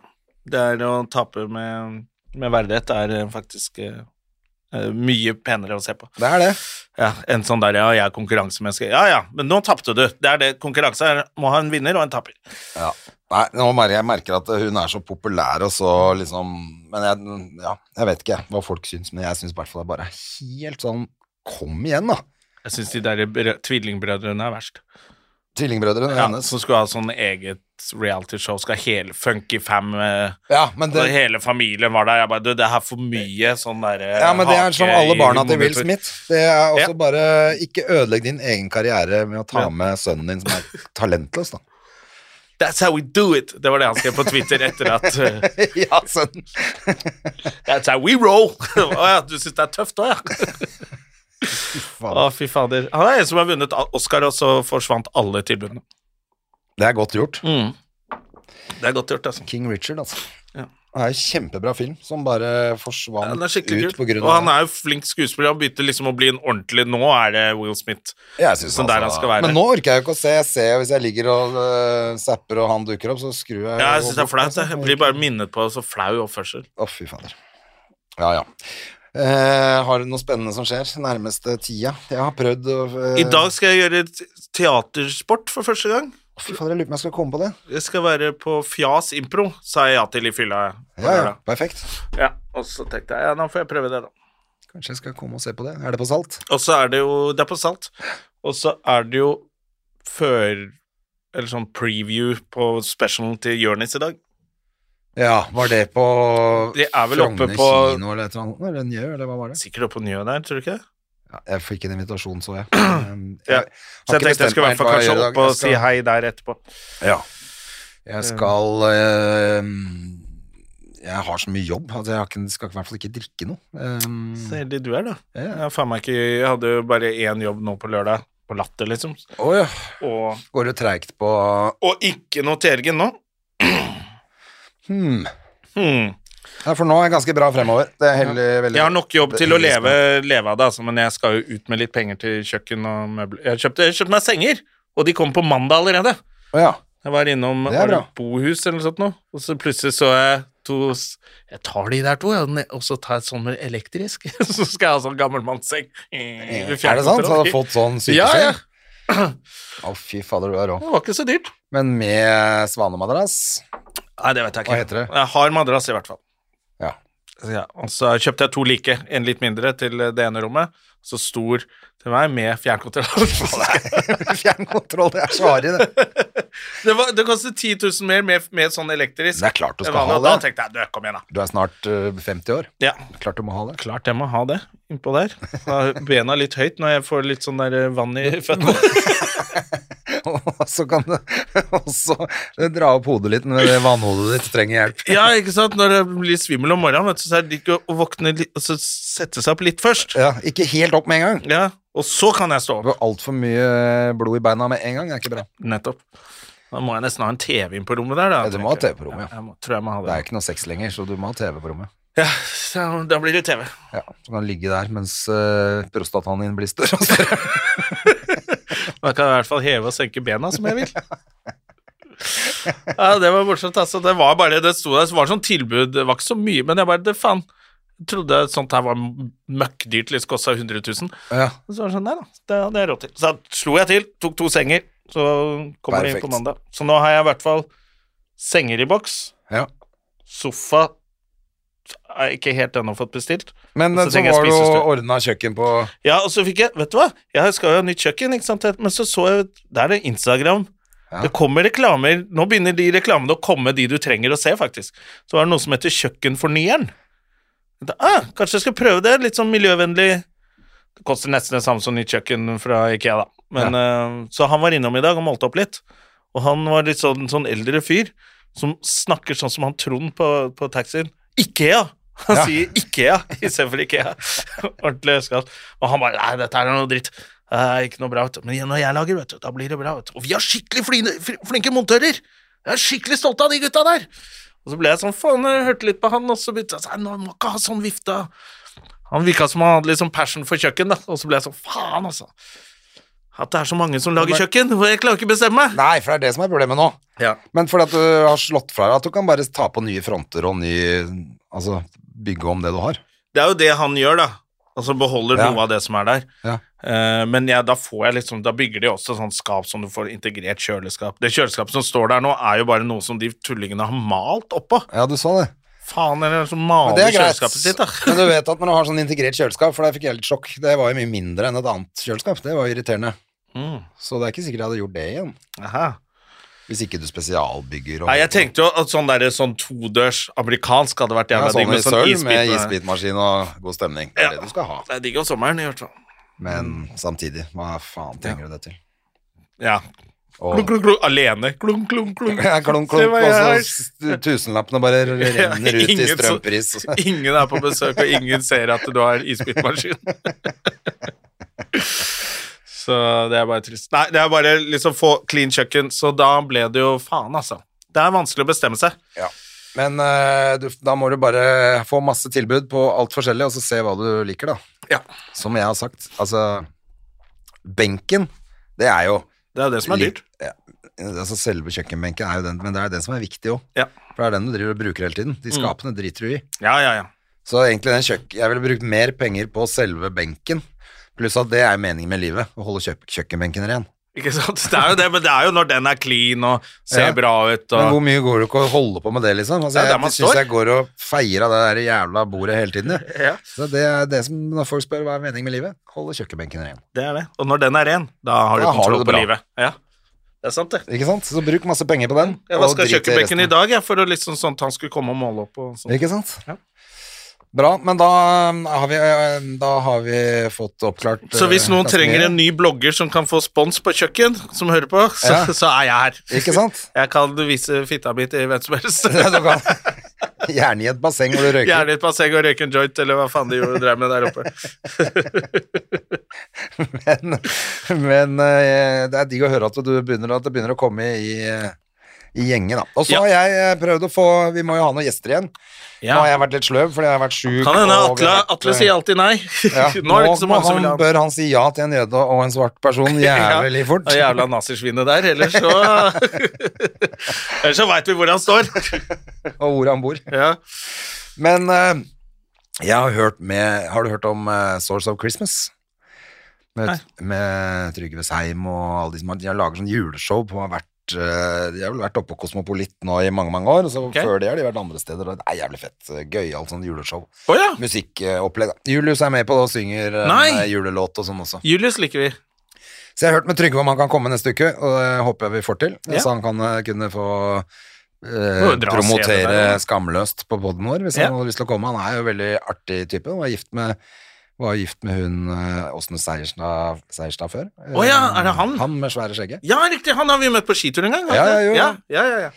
S2: Det er å tape med, med verdighet er eh, faktisk eh, eh, mye penere å se på.
S1: Det er det.
S2: Ja, en sånn der, ja, jeg er konkurransemenneske. Ja, ja, men nå tapte du. Det er det konkurranse er. Må ha en vinner og en taper.
S1: Nei, nå mer jeg merker at hun er så populær og så liksom Men jeg, ja, jeg vet ikke hva folk syns, men jeg syns i hvert fall det er bare helt sånn Kom igjen, da!
S2: Jeg syns de der brø- tvillingbrødrene er verst.
S1: Tvillingbrødrene
S2: Ja,
S1: hennes.
S2: som skulle ha sånn eget realityshow. Skal hele Funky Fam eh,
S1: Ja, men det,
S2: og Hele familien var der. Jeg bare Du, det er for mye sånn derre
S1: ja, men det er
S2: Eh,
S1: som alle barna til Will Smith. Det er også
S2: Ja.
S1: bare Ikke ødelegg din egen karriere med å ta
S2: Ja.
S1: med sønnen din som er talentløs, da.
S2: That's how we do it! Det var det han skrev på Twitter etter at eh,
S1: ja, sønnen.
S2: That's how we roll! Å ja, du syns det er tøft òg, ja? Å,
S1: Faen.
S2: fy fader. Han er en som har vunnet Oscar, og så forsvant alle tilbudene.
S1: Det er godt gjort.
S2: Mm. Det er godt gjort, altså.
S1: King Richard, altså.
S2: Ja.
S1: Det er en kjempebra film som bare
S2: Ja,
S1: forsvant
S2: Den er skikkelig
S1: ut på
S2: kul.
S1: grunn
S2: Og han
S1: av
S2: er jo flink skuespiller. Han begynte liksom å bli en ordentlig Nå er det Will Smith.
S1: Jeg synes altså-
S2: sånn der han skal være.
S1: Men nå orker jeg jo ikke å se. Jeg ser jo hvis jeg ligger og øh, zapper og han dukker opp, så skrur jeg
S2: Ja,
S1: jo
S2: jeg syns det er
S1: bort,
S2: flaut.
S1: altså.
S2: Jeg blir bare minnet på så flau oppførsel.
S1: Å, fy fader. Ja, ja. Eh, har du noe spennende som skjer nærmeste tida? Jeg har prøvd å eh,
S2: I dag skal jeg gjøre t- teatersport for første gang.
S1: Fy fader, jeg lurer på om jeg skal komme på det.
S2: Jeg skal være på Fjas impro, sa jeg ja til i fylla. på
S1: Ja, ja.
S2: lørdag.
S1: Perfekt.
S2: ja. Og så tenkte jeg ja, nå får jeg prøve det, da.
S1: Kanskje jeg skal komme og se på det. Er det på Salt?
S2: Og så er det jo Det er på Salt. Og så er det jo før Eller sånn preview på specialen til Jonis i dag.
S1: Ja, var det på
S2: De er vel oppe
S1: Frogner
S2: på-
S1: kino eller et eller annet? Eller Njø, eller hva var det?
S2: Sikkert oppe på Njø der, tror du ikke det?
S1: Ja, jeg fikk en invitasjon, så jeg. Um, jeg har
S2: Så jeg
S1: ikke
S2: tenkte jeg
S1: bestemt
S2: skulle i
S1: meg
S2: hvert fall
S1: helt hva
S2: kanskje
S1: jeg gjør i dag.
S2: opp og
S1: Jeg
S2: si
S1: skal-
S2: hei der etterpå.
S1: Ja. Jeg skal eh, Jeg har så mye jobb at jeg har ikke, skal i hvert fall ikke drikke noe. Um,
S2: Så heldig du er, da.
S1: Ja.
S2: Jeg, har faen meg ikke, jeg hadde jo bare én jobb nå på lørdag, på Latter, liksom.
S1: å ja.
S2: Og,
S1: Går det treigt på
S2: og ikke noe til helgen nå.
S1: hmm.
S2: Hmm.
S1: Ja, for nå er jeg ganske bra fremover. Det er heldig, veldig
S2: Jeg har nok jobb
S1: det
S2: til å
S1: er
S2: leve, leve av det, altså, men jeg skal jo ut med litt penger til kjøkken og møbler. Jeg kjøpte, jeg kjøpte meg senger, og de kom på mandag allerede.
S1: Å ja.
S2: Jeg var innom
S1: Det er bra.
S2: Bohus eller noe sånt nå, og så plutselig så jeg to s- Jeg tar de der to, ja, ne- og så tar jeg sånn med elektrisk. Så skal jeg ha sånn gammelmannsseng.
S1: Er det sant? Så hadde du fått sånn
S2: Ja,
S1: sykeseng?
S2: ja.
S1: Å, fy fader, du er rå.
S2: Det var ikke så dyrt.
S1: Men med svanemadrass
S2: Nei, det vet jeg ikke.
S1: Hva heter det?
S2: Jeg har madrass, i hvert fall.
S1: Ja.
S2: Ja, og så kjøpte jeg to like, en litt mindre til det ene rommet, så stor til meg med fjernkontroll.
S1: Fjernkontroll, det er så harry, det.
S2: det, var, det kostet 10 000 mer med, med sånn elektrisk.
S1: Det er klart du
S2: enn
S1: skal ha
S2: vanlig, og
S1: det.
S2: Da tenkte jeg, du, kom igjen da.
S1: Du er snart eh, 50 år.
S2: Ja,
S1: Klart du må ha det.
S2: klart jeg må ha det innpå der. Da er bena litt høyt når jeg får litt sånn der eh, vann i føttene.
S1: Og så kan du også eh, dra opp hodet litt når det vannhodet ditt trenger hjelp.
S2: Ja, ikke sant? Når jeg blir svimmel om morgenen, vet du, så er det ikke å våkne litt, og så sette seg opp litt først.
S1: Ja, ikke helt opp med en gang.
S2: Ja, og så kan jeg stå
S1: Du
S2: opp.
S1: har altfor mye eh, blod i beina med en gang, det er ikke bra.
S2: Nettopp. Da må jeg nesten ha en TV inn på rommet der, da.
S1: Ja, du må ha
S2: tenker jeg.
S1: TV på rommet, ja.
S2: ja. Jeg må, tror jeg må ha
S1: Det
S2: det.
S1: er ikke noe sex lenger, så du må ha TV på rommet.
S2: Ja, så da blir det TV.
S1: Ja, Du kan ligge der mens eh, prostataen din blir større og større.
S2: Da kan jeg i hvert fall heve og senke bena som jeg vil. Ja, det var morsomt, altså. Det var bare, det sto der, så var det sånn tilbud, det var ikke så mye, men jeg bare, det faen, jeg trodde sånt her var møkkdyrt, liksom, det kosta 100 000.
S1: Ja,
S2: Og så var det sånn, nei da, det hadde jeg råd til. Så da slo jeg til, tok to senger, så kommer det inn
S1: Perfekt.
S2: på mandag. Så nå har jeg i hvert fall senger i boks,
S1: ja.
S2: sofa har jeg ikke helt ennå fått bestilt.
S1: Men
S2: Og
S1: eh,
S2: så
S1: så
S2: trenger jeg
S1: var du og
S2: spisestue.
S1: ordna kjøkken på
S2: Ja, og så fikk jeg, vet du hva, jeg skal jo ha nytt kjøkken, ikke sant, men så så jeg, der er det Instagram,
S1: Ja.
S2: det kommer reklamer, nå begynner de reklamene å komme de du trenger å se, faktisk. Så var det noe som heter Kjøkkenfornyeren. Jeg tenkte, Ah, kanskje jeg skal prøve det, litt sånn miljøvennlig, det koster nesten det samme som nytt kjøkken fra Ikea da. Men, eh, så han var innom i dag og målte opp litt, og han var litt sånn, sånn eldre fyr, som snakker sånn som han Trond på, på taxien. Ikea! Han
S1: Ja.
S2: sier Ikea istedenfor Ikea. Ordentlig østkatt. Og han bare Nei, dette her er noe dritt. Det er ikke noe bra, vet du. Men når jeg lager, vet du, da blir det bra, vet du. Og vi har skikkelig fline, fl- flinke montører! Jeg er skikkelig stolt av de gutta der! Og så ble jeg sånn, faen, jeg hørte litt på han, og så begynte jeg sånn, nå må ikke ha sånn vifte. Han virka som han hadde litt sånn passion for kjøkken, da. Og så ble jeg sånn, faen, altså. at det er så mange som lager kjøkken, for jeg klarer ikke bestemme meg.
S1: Nei, for det er det som er problemet nå.
S2: Ja.
S1: Men fordi at du har slått fra deg at du kan bare ta på nye fronter og ny Altså bygge om det du har.
S2: Det er jo det han gjør, da. Altså beholder
S1: Ja.
S2: noe av det som er der.
S1: Ja.
S2: Eh, men jeg- da får jeg liksom Da bygger de også sånn skap som du får integrert kjøleskap. Det kjøleskapet som står der nå, er jo bare noe som de tullingene har malt oppå.
S1: Ja, du sa det.
S2: Faen, eller som
S1: Men
S2: maler
S1: det er greit.
S2: kjøleskapet sitt, da.
S1: Men du vet at når du har sånn integrert kjøleskap, for der fikk jeg litt sjokk. Det var jo mye mindre enn et annet kjøleskap. Det var jo irriterende.
S2: Mm.
S1: Så det er ikke sikkert jeg hadde gjort det igjen.
S2: Aha.
S1: Hvis ikke du spesialbygger og
S2: Nei, jeg tenkte jo at sånn der, sånn todørs amerikansk hadde vært
S1: ja,
S2: jævla digg
S1: sånn i
S2: med sånn
S1: sølv med
S2: isbit.
S1: isbitmaskin og god stemning. Det er
S2: Ja.
S1: det du skal ha.
S2: Det er digg om sommeren, i hvert fall.
S1: Men samtidig, hva faen trenger du det til?
S2: Ja.
S1: Og,
S2: Klunk, klunk, klunk, alene. Klunk, klunk, klunk.
S1: ja, klunk,
S2: Se
S1: klunk,
S2: hva jeg har.
S1: og så tusenlappene bare renner ut i
S2: Ingen så-
S1: strømpris.
S2: Ingen er på besøk, og ingen ser at du har isbitmaskin. Så det er bare trist. Nei, det er bare liksom få clean kjøkken, så da ble det jo faen, altså. Det er vanskelig å bestemme seg.
S1: Ja. Men eh, du, da må du bare få masse tilbud på alt forskjellig, og så se hva du liker, da.
S2: Ja.
S1: Som jeg har sagt, altså Benken, det er jo
S2: Det er jo det som er
S1: litt-
S2: dyrt.
S1: Ja, altså Selve kjøkkenbenken er jo den, men det er den som er viktig òg.
S2: Ja, Mm.
S1: For det er den du driver og bruker hele tiden. De skapene driter du i.
S2: ja, ja. ja.
S1: Så egentlig den kjøk Jeg ville brukt mer penger på selve benken. Pluss at det er meningen med livet, å holde kjøk kjøkkenbenken ren.
S2: Ikke sant? Det er jo det, men det er jo når den er clean og ser
S1: Ja.
S2: bra ut
S1: Men hvor
S2: og
S1: mye går det ikke å holde på med det, liksom? Altså,
S2: Det er der man
S1: jeg syns
S2: står.
S1: jeg går og feier av det der jævla bordet hele tiden, jeg.
S2: Ja.
S1: Så det er det som når folk spør hva er meningen med livet, holde kjøkkenbenken ren.
S2: Det er det. Og når den er ren, da har du
S1: Da har
S2: kontroll
S1: du det
S2: på
S1: bra.
S2: livet. Ja. Det er sant, det.
S1: Ikke sant? Så bruk masse penger på den.
S2: Jeg
S1: og
S2: vaska
S1: drit i resten.
S2: kjøkkenbenken i dag jeg, for å liksom sånn at han skulle komme og måle opp og sånn.
S1: Ikke sant?
S2: Ja.
S1: Bra, men da um, har vi, um, da har vi fått oppklart uh,
S2: Så hvis noen trenger en
S1: en
S2: ny blogger som kan få spons på kjøkken, som hører på, så,
S1: Ja.
S2: så er jeg her.
S1: Ikke sant?
S2: Jeg kan vise fitta mi til hvem som helst.
S1: Du kan, gjerne i et basseng hvor du røyker.
S2: Gjerne i et basseng og røyke en joint, eller hva faen de gjorde drev med der oppe.
S1: Men, men eh, det er digg å høre at, du begynner, at det begynner å komme i, eh, i gjengen. Da. Og så
S2: Ja.
S1: har jeg eh, prøvd å få Vi må jo ha noen gjester igjen. Nå har jeg vært litt sløv fordi jeg har vært sjuk.
S2: Kan hende
S1: og vi
S2: Atle,
S1: har vært,
S2: Atle
S1: eh,
S2: sier alltid nei.
S1: ja.
S2: Nå er det ikke så
S1: må
S2: mange som vil ha
S1: han, bør han si ja til en jøde og en svart person jævlig fort.
S2: Det jævla nazisvinet der, ellers så Ellers så veit vi hvor han står.
S1: Og hvor han bor.
S2: Ja.
S1: Men eh, jeg har hørt med Har du hørt om eh, Source of Christmas? Med, med Trygve Seim og alle de som har De har laget sånn juleshow på å ha vært eh, De har vel vært oppe på Kosmopolit nå i mange, mange år. Og så
S2: Ok.
S1: før det har de vært andre steder. Og det er jævlig fett. eh, Gøyalt sånn juleshow.
S2: Å ja.
S1: Musikkopplegg. da. Julius er med på det og synger eh,
S2: Nei.
S1: en, eh, julelåt og sånn også.
S2: Julius liker vi.
S1: Så jeg har hørt med Trygve om han kan komme neste uke, og det håper jeg vi får til.
S2: Ja.
S1: Så han kan eh, kunne få eh,
S2: Må jo dra og se det
S1: promotere
S2: der, ja.
S1: skamløst på poden vår, hvis
S2: Ja.
S1: han hadde lyst til å komme. Han er jo veldig artig type. Han var gift med, var gift med hun eh, Åsne Seierstad, Seierstad før.
S2: Å ja, er det han?
S1: Han med svære skjegget.
S2: Ja, riktig, han har vi møtt på skitur en gang. har
S1: Ja,
S2: vi det?
S1: ja, jo,
S2: ja, ja, ja, ja.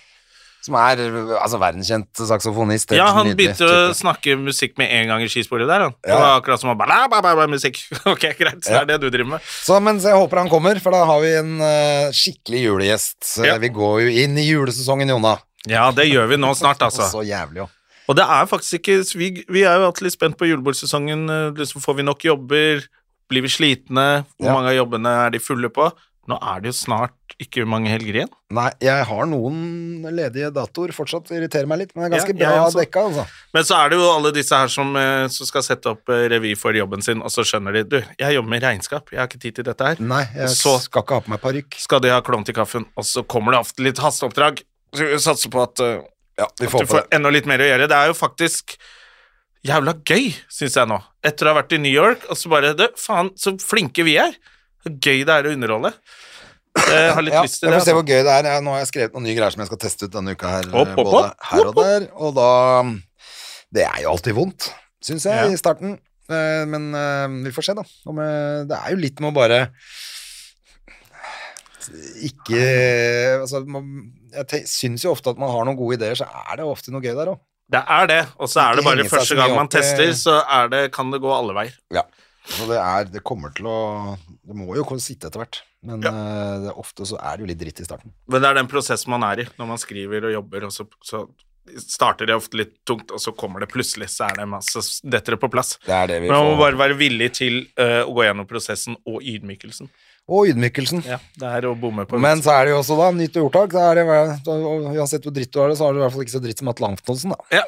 S1: Som er eh, altså, verdenskjent saksofonist. Helt
S2: ja, han
S1: nydelig
S2: begynte å
S1: type.
S2: snakke musikk med en gang i skisporet der, han.
S1: Ja.
S2: Det var akkurat som å bla, bla, bla, bla, musikk. Ok, greit, så
S1: Ja.
S2: det er det du driver med.
S1: Så, men så jeg håper han kommer, for da har vi en eh, skikkelig julegjest. Eh,
S2: Ja.
S1: Vi går jo inn i julesesongen, Jona.
S2: Ja, det gjør vi nå snart, altså.
S1: Så jævlig òg.
S2: Og det er faktisk ikke Vi, vi er jo alltid litt spent på julebordsesongen. eh, Liksom, får vi nok jobber? Blir vi slitne? Hvor
S1: Ja.
S2: mange av jobbene er de fulle på? Nå er det jo snart ikke mange helger igjen.
S1: Nei, jeg har noen ledige datoer fortsatt, irriterer meg litt, men det er ganske
S2: Ja, jeg
S1: bra
S2: også.
S1: dekka, altså.
S2: Men så er det jo alle disse her som, eh, som skal sette opp eh, revy for jobben sin, og så skjønner de Du, jeg jobber med regnskap, jeg har ikke tid til dette her.
S1: Nei, jeg
S2: Så-
S1: skal ikke ha på meg parykk.
S2: Skal de ha klovn til kaffen? Og så kommer det ofte litt hasteoppdrag. Så vi satser på at eh,
S1: Ja, vi
S2: At
S1: får
S2: du
S1: på
S2: får
S1: det.
S2: enda litt mer å gjøre. Det er jo faktisk jævla gøy, syns jeg nå. Etter å ha vært i New York, og så bare Du, faen, så flinke vi er. Så gøy det er å underholde. Eh, Jeg har litt
S1: Ja,
S2: lyst til
S1: jeg
S2: det.
S1: får se
S2: Altså.
S1: hvor gøy det er. Jeg- Nå har jeg skrevet noen nye greier som jeg skal teste ut denne uka her,
S2: Opp, opp,
S1: både
S2: opp.
S1: her og der, og da Det er jo alltid vondt, syns jeg,
S2: Ja.
S1: i starten. Eh, Men eh, vi får se, da. Om, eh, det er jo litt med å bare ikke Altså, man, jeg te- syns jo ofte at man har noen gode ideer, så er det ofte noe gøy der òg.
S2: Det er det, og så er det
S1: Ikke
S2: bare
S1: henge seg
S2: første
S1: så
S2: gang
S1: mye
S2: man
S1: opp i-
S2: tester, så er det, kan det gå alle veier.
S1: Ja. Så det er Det kommer til å Det må jo kunne sitte etter hvert, men eh, det, er ofte så er det jo litt dritt i starten.
S2: Men det er den prosessen man er i når man skriver og jobber, og så, så starter det ofte litt tungt, og så kommer det plutselig, så er det masse detter det på plass.
S1: Det er det vi
S2: Men man må
S1: får.
S2: bare være villig til eh, å gå gjennom prosessen og ydmykelsen.
S1: Og ydmykelsen.
S2: Ja, det er å bomme på
S1: Men så er det jo også, da, nytt ordtak. Da er det, da, og uansett hvor dritt du har det, så har du i hvert fall ikke så dritt som Atle Antonsen, da.
S2: Ja.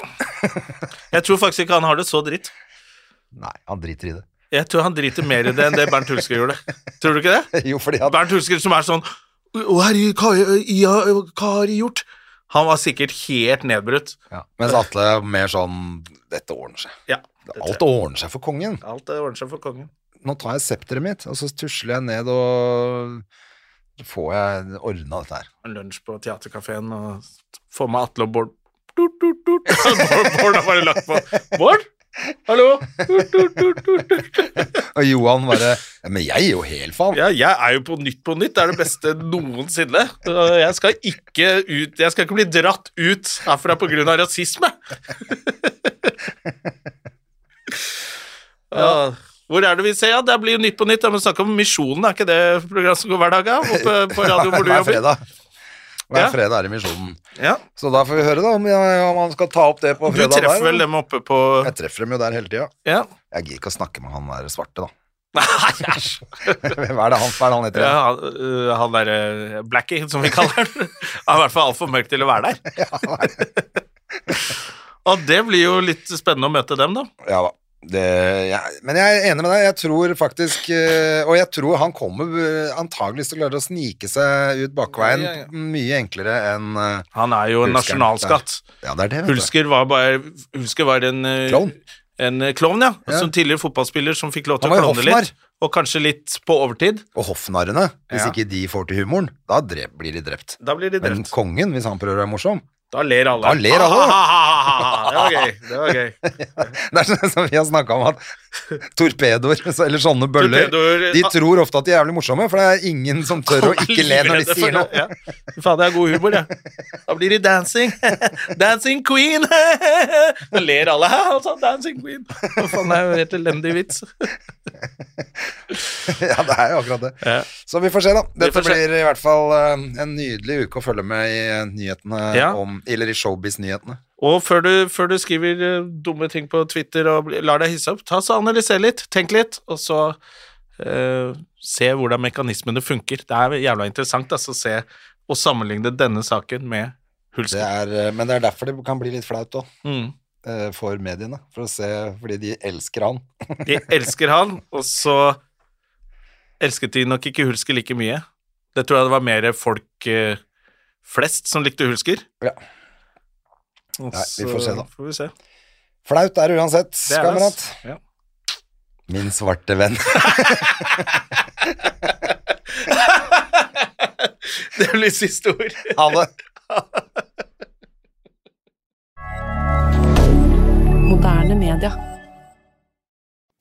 S2: Jeg tror faktisk ikke han har det så dritt.
S1: Nei, han driter i det.
S2: Jeg tror han driter mer i det enn det Bernt Hulsker gjorde. Tror du ikke det?
S1: Jo, fordi at
S2: Bernt Hulsker som er sånn Å, herregud, hva, ja, hva har jeg gjort? Han var sikkert helt nedbrutt.
S1: ja. Mens Atle er mer sånn Dette ordner seg.
S2: Ja.
S1: Alt ordner seg for kongen.
S2: Alt ordner seg for kongen.
S1: Nå tar jeg septeret mitt, og så tusler jeg ned og så får jeg ordna dette her.
S2: Lunsj på teaterkafeen og få med Atle og Bård. Tut, tut, tut. Bård Bård har bare lagt på. Bård? Hallo? Tut, tut, tut, tut, tut.
S1: Og Johan bare ja, Men jeg er jo hel faen.
S2: Ja, jeg er jo på Nytt på Nytt. Det er det beste noensinne. Og Jeg skal ikke ut Jeg skal ikke bli dratt ut herfra pga. rasisme. Ja. Ah, Hvor er det vi ser? Ja, det blir jo Nytt på Nytt. Da må vi snakke om Misjonen. Er ikke det program som går hver dag? Ja? Oppe på radioen hvor du
S1: Hver
S2: jobber?
S1: fredag. Hver
S2: Ja.
S1: fredag er det Misjonen.
S2: Ja.
S1: Så da får vi høre, da, om, jeg, om han skal ta opp det på
S2: Du
S1: fredag.
S2: treffer vel
S1: der, da.
S2: dem oppe på
S1: Jeg treffer dem jo der hele tida.
S2: Ja.
S1: Jeg gidder ikke å snakke med han der svarte, da.
S2: Nei, æsj.
S1: Hvem er det han, hva er det han heter?
S2: Ja, han øh, han derre Blackie, som vi kaller han. Han er i hvert fall altfor mørk til å være der. Og det blir jo litt spennende å møte dem, da.
S1: Ja da. Det, jeg, men jeg er enig med deg. Jeg tror faktisk eh, Og jeg tror han kommer eh, antageligvis til å klare å snike seg ut bakveien
S2: Ja, ja, ja.
S1: mye enklere enn eh,
S2: Han er jo en
S1: Hulsker.
S2: nasjonalskatt.
S1: Ja, det er det, vet du.
S2: Hulsker var bare Hulsker var en eh,
S1: Klovn.
S2: En eh, klovn, ja.
S1: Ja.
S2: Som tidligere fotballspiller som fikk lov til å
S1: Han var jo
S2: klovne litt.
S1: hoffnarr.
S2: Og kanskje litt på overtid.
S1: Og hoffnarrene. Hvis
S2: Ja.
S1: ikke de får til humoren, da drep, blir de drept.
S2: Da blir de
S1: Men
S2: drept.
S1: kongen, hvis han prøver å være morsom
S2: Da ler alle.
S1: Da ler alle.
S2: Ah, det var gøy. Det var gøy.
S1: Det er sånn som vi har snakka om at torpedoer, så- eller sånne bøller
S2: Torpedoer,
S1: De
S2: ah.
S1: tror ofte at de er jævlig morsomme, for det er ingen som tør å ikke le når de
S2: Livredde
S1: sier
S2: for
S1: noe.
S2: det, Ja. Fy Faen, det er god humor, ja. Da blir de dancing. Dancing queen! Da ler alle. Altså, dancing queen. Hva faen, det er jo helt elendig vits.
S1: Ja, det er jo akkurat det.
S2: Ja.
S1: Så vi får se, da. Dette
S2: får se.
S1: blir i hvert fall eh, en nydelig uke å følge med i eh, nyhetene
S2: Ja.
S1: om Eller i Showbiz-nyhetene.
S2: Og før du, før du skriver eh, dumme ting på Twitter og bli- lar deg hisse opp, ta så analyser litt, tenk litt, og så eh, se hvordan mekanismene funker. Det er jævla interessant altså, å se og sammenligne denne saken med
S1: Det
S2: Hulsker.
S1: er, eh, men det er derfor det kan bli litt flaut òg,
S2: Mm.
S1: for mediene. For å se, fordi de elsker han.
S2: De elsker han, og så elsket de nok ikke Hulsker like mye. Det tror jeg det var mer folk eh, flest som likte Hulsker.
S1: Ja.
S2: Og
S1: Nei, vi
S2: så
S1: får se da.
S2: Får vi se.
S1: Flaut er det uansett,
S2: Det er det,
S1: kamerat.
S2: ass. Ja.
S1: Min svarte venn.
S2: Det blir siste ord.
S1: Ha det.
S3: Moderne media.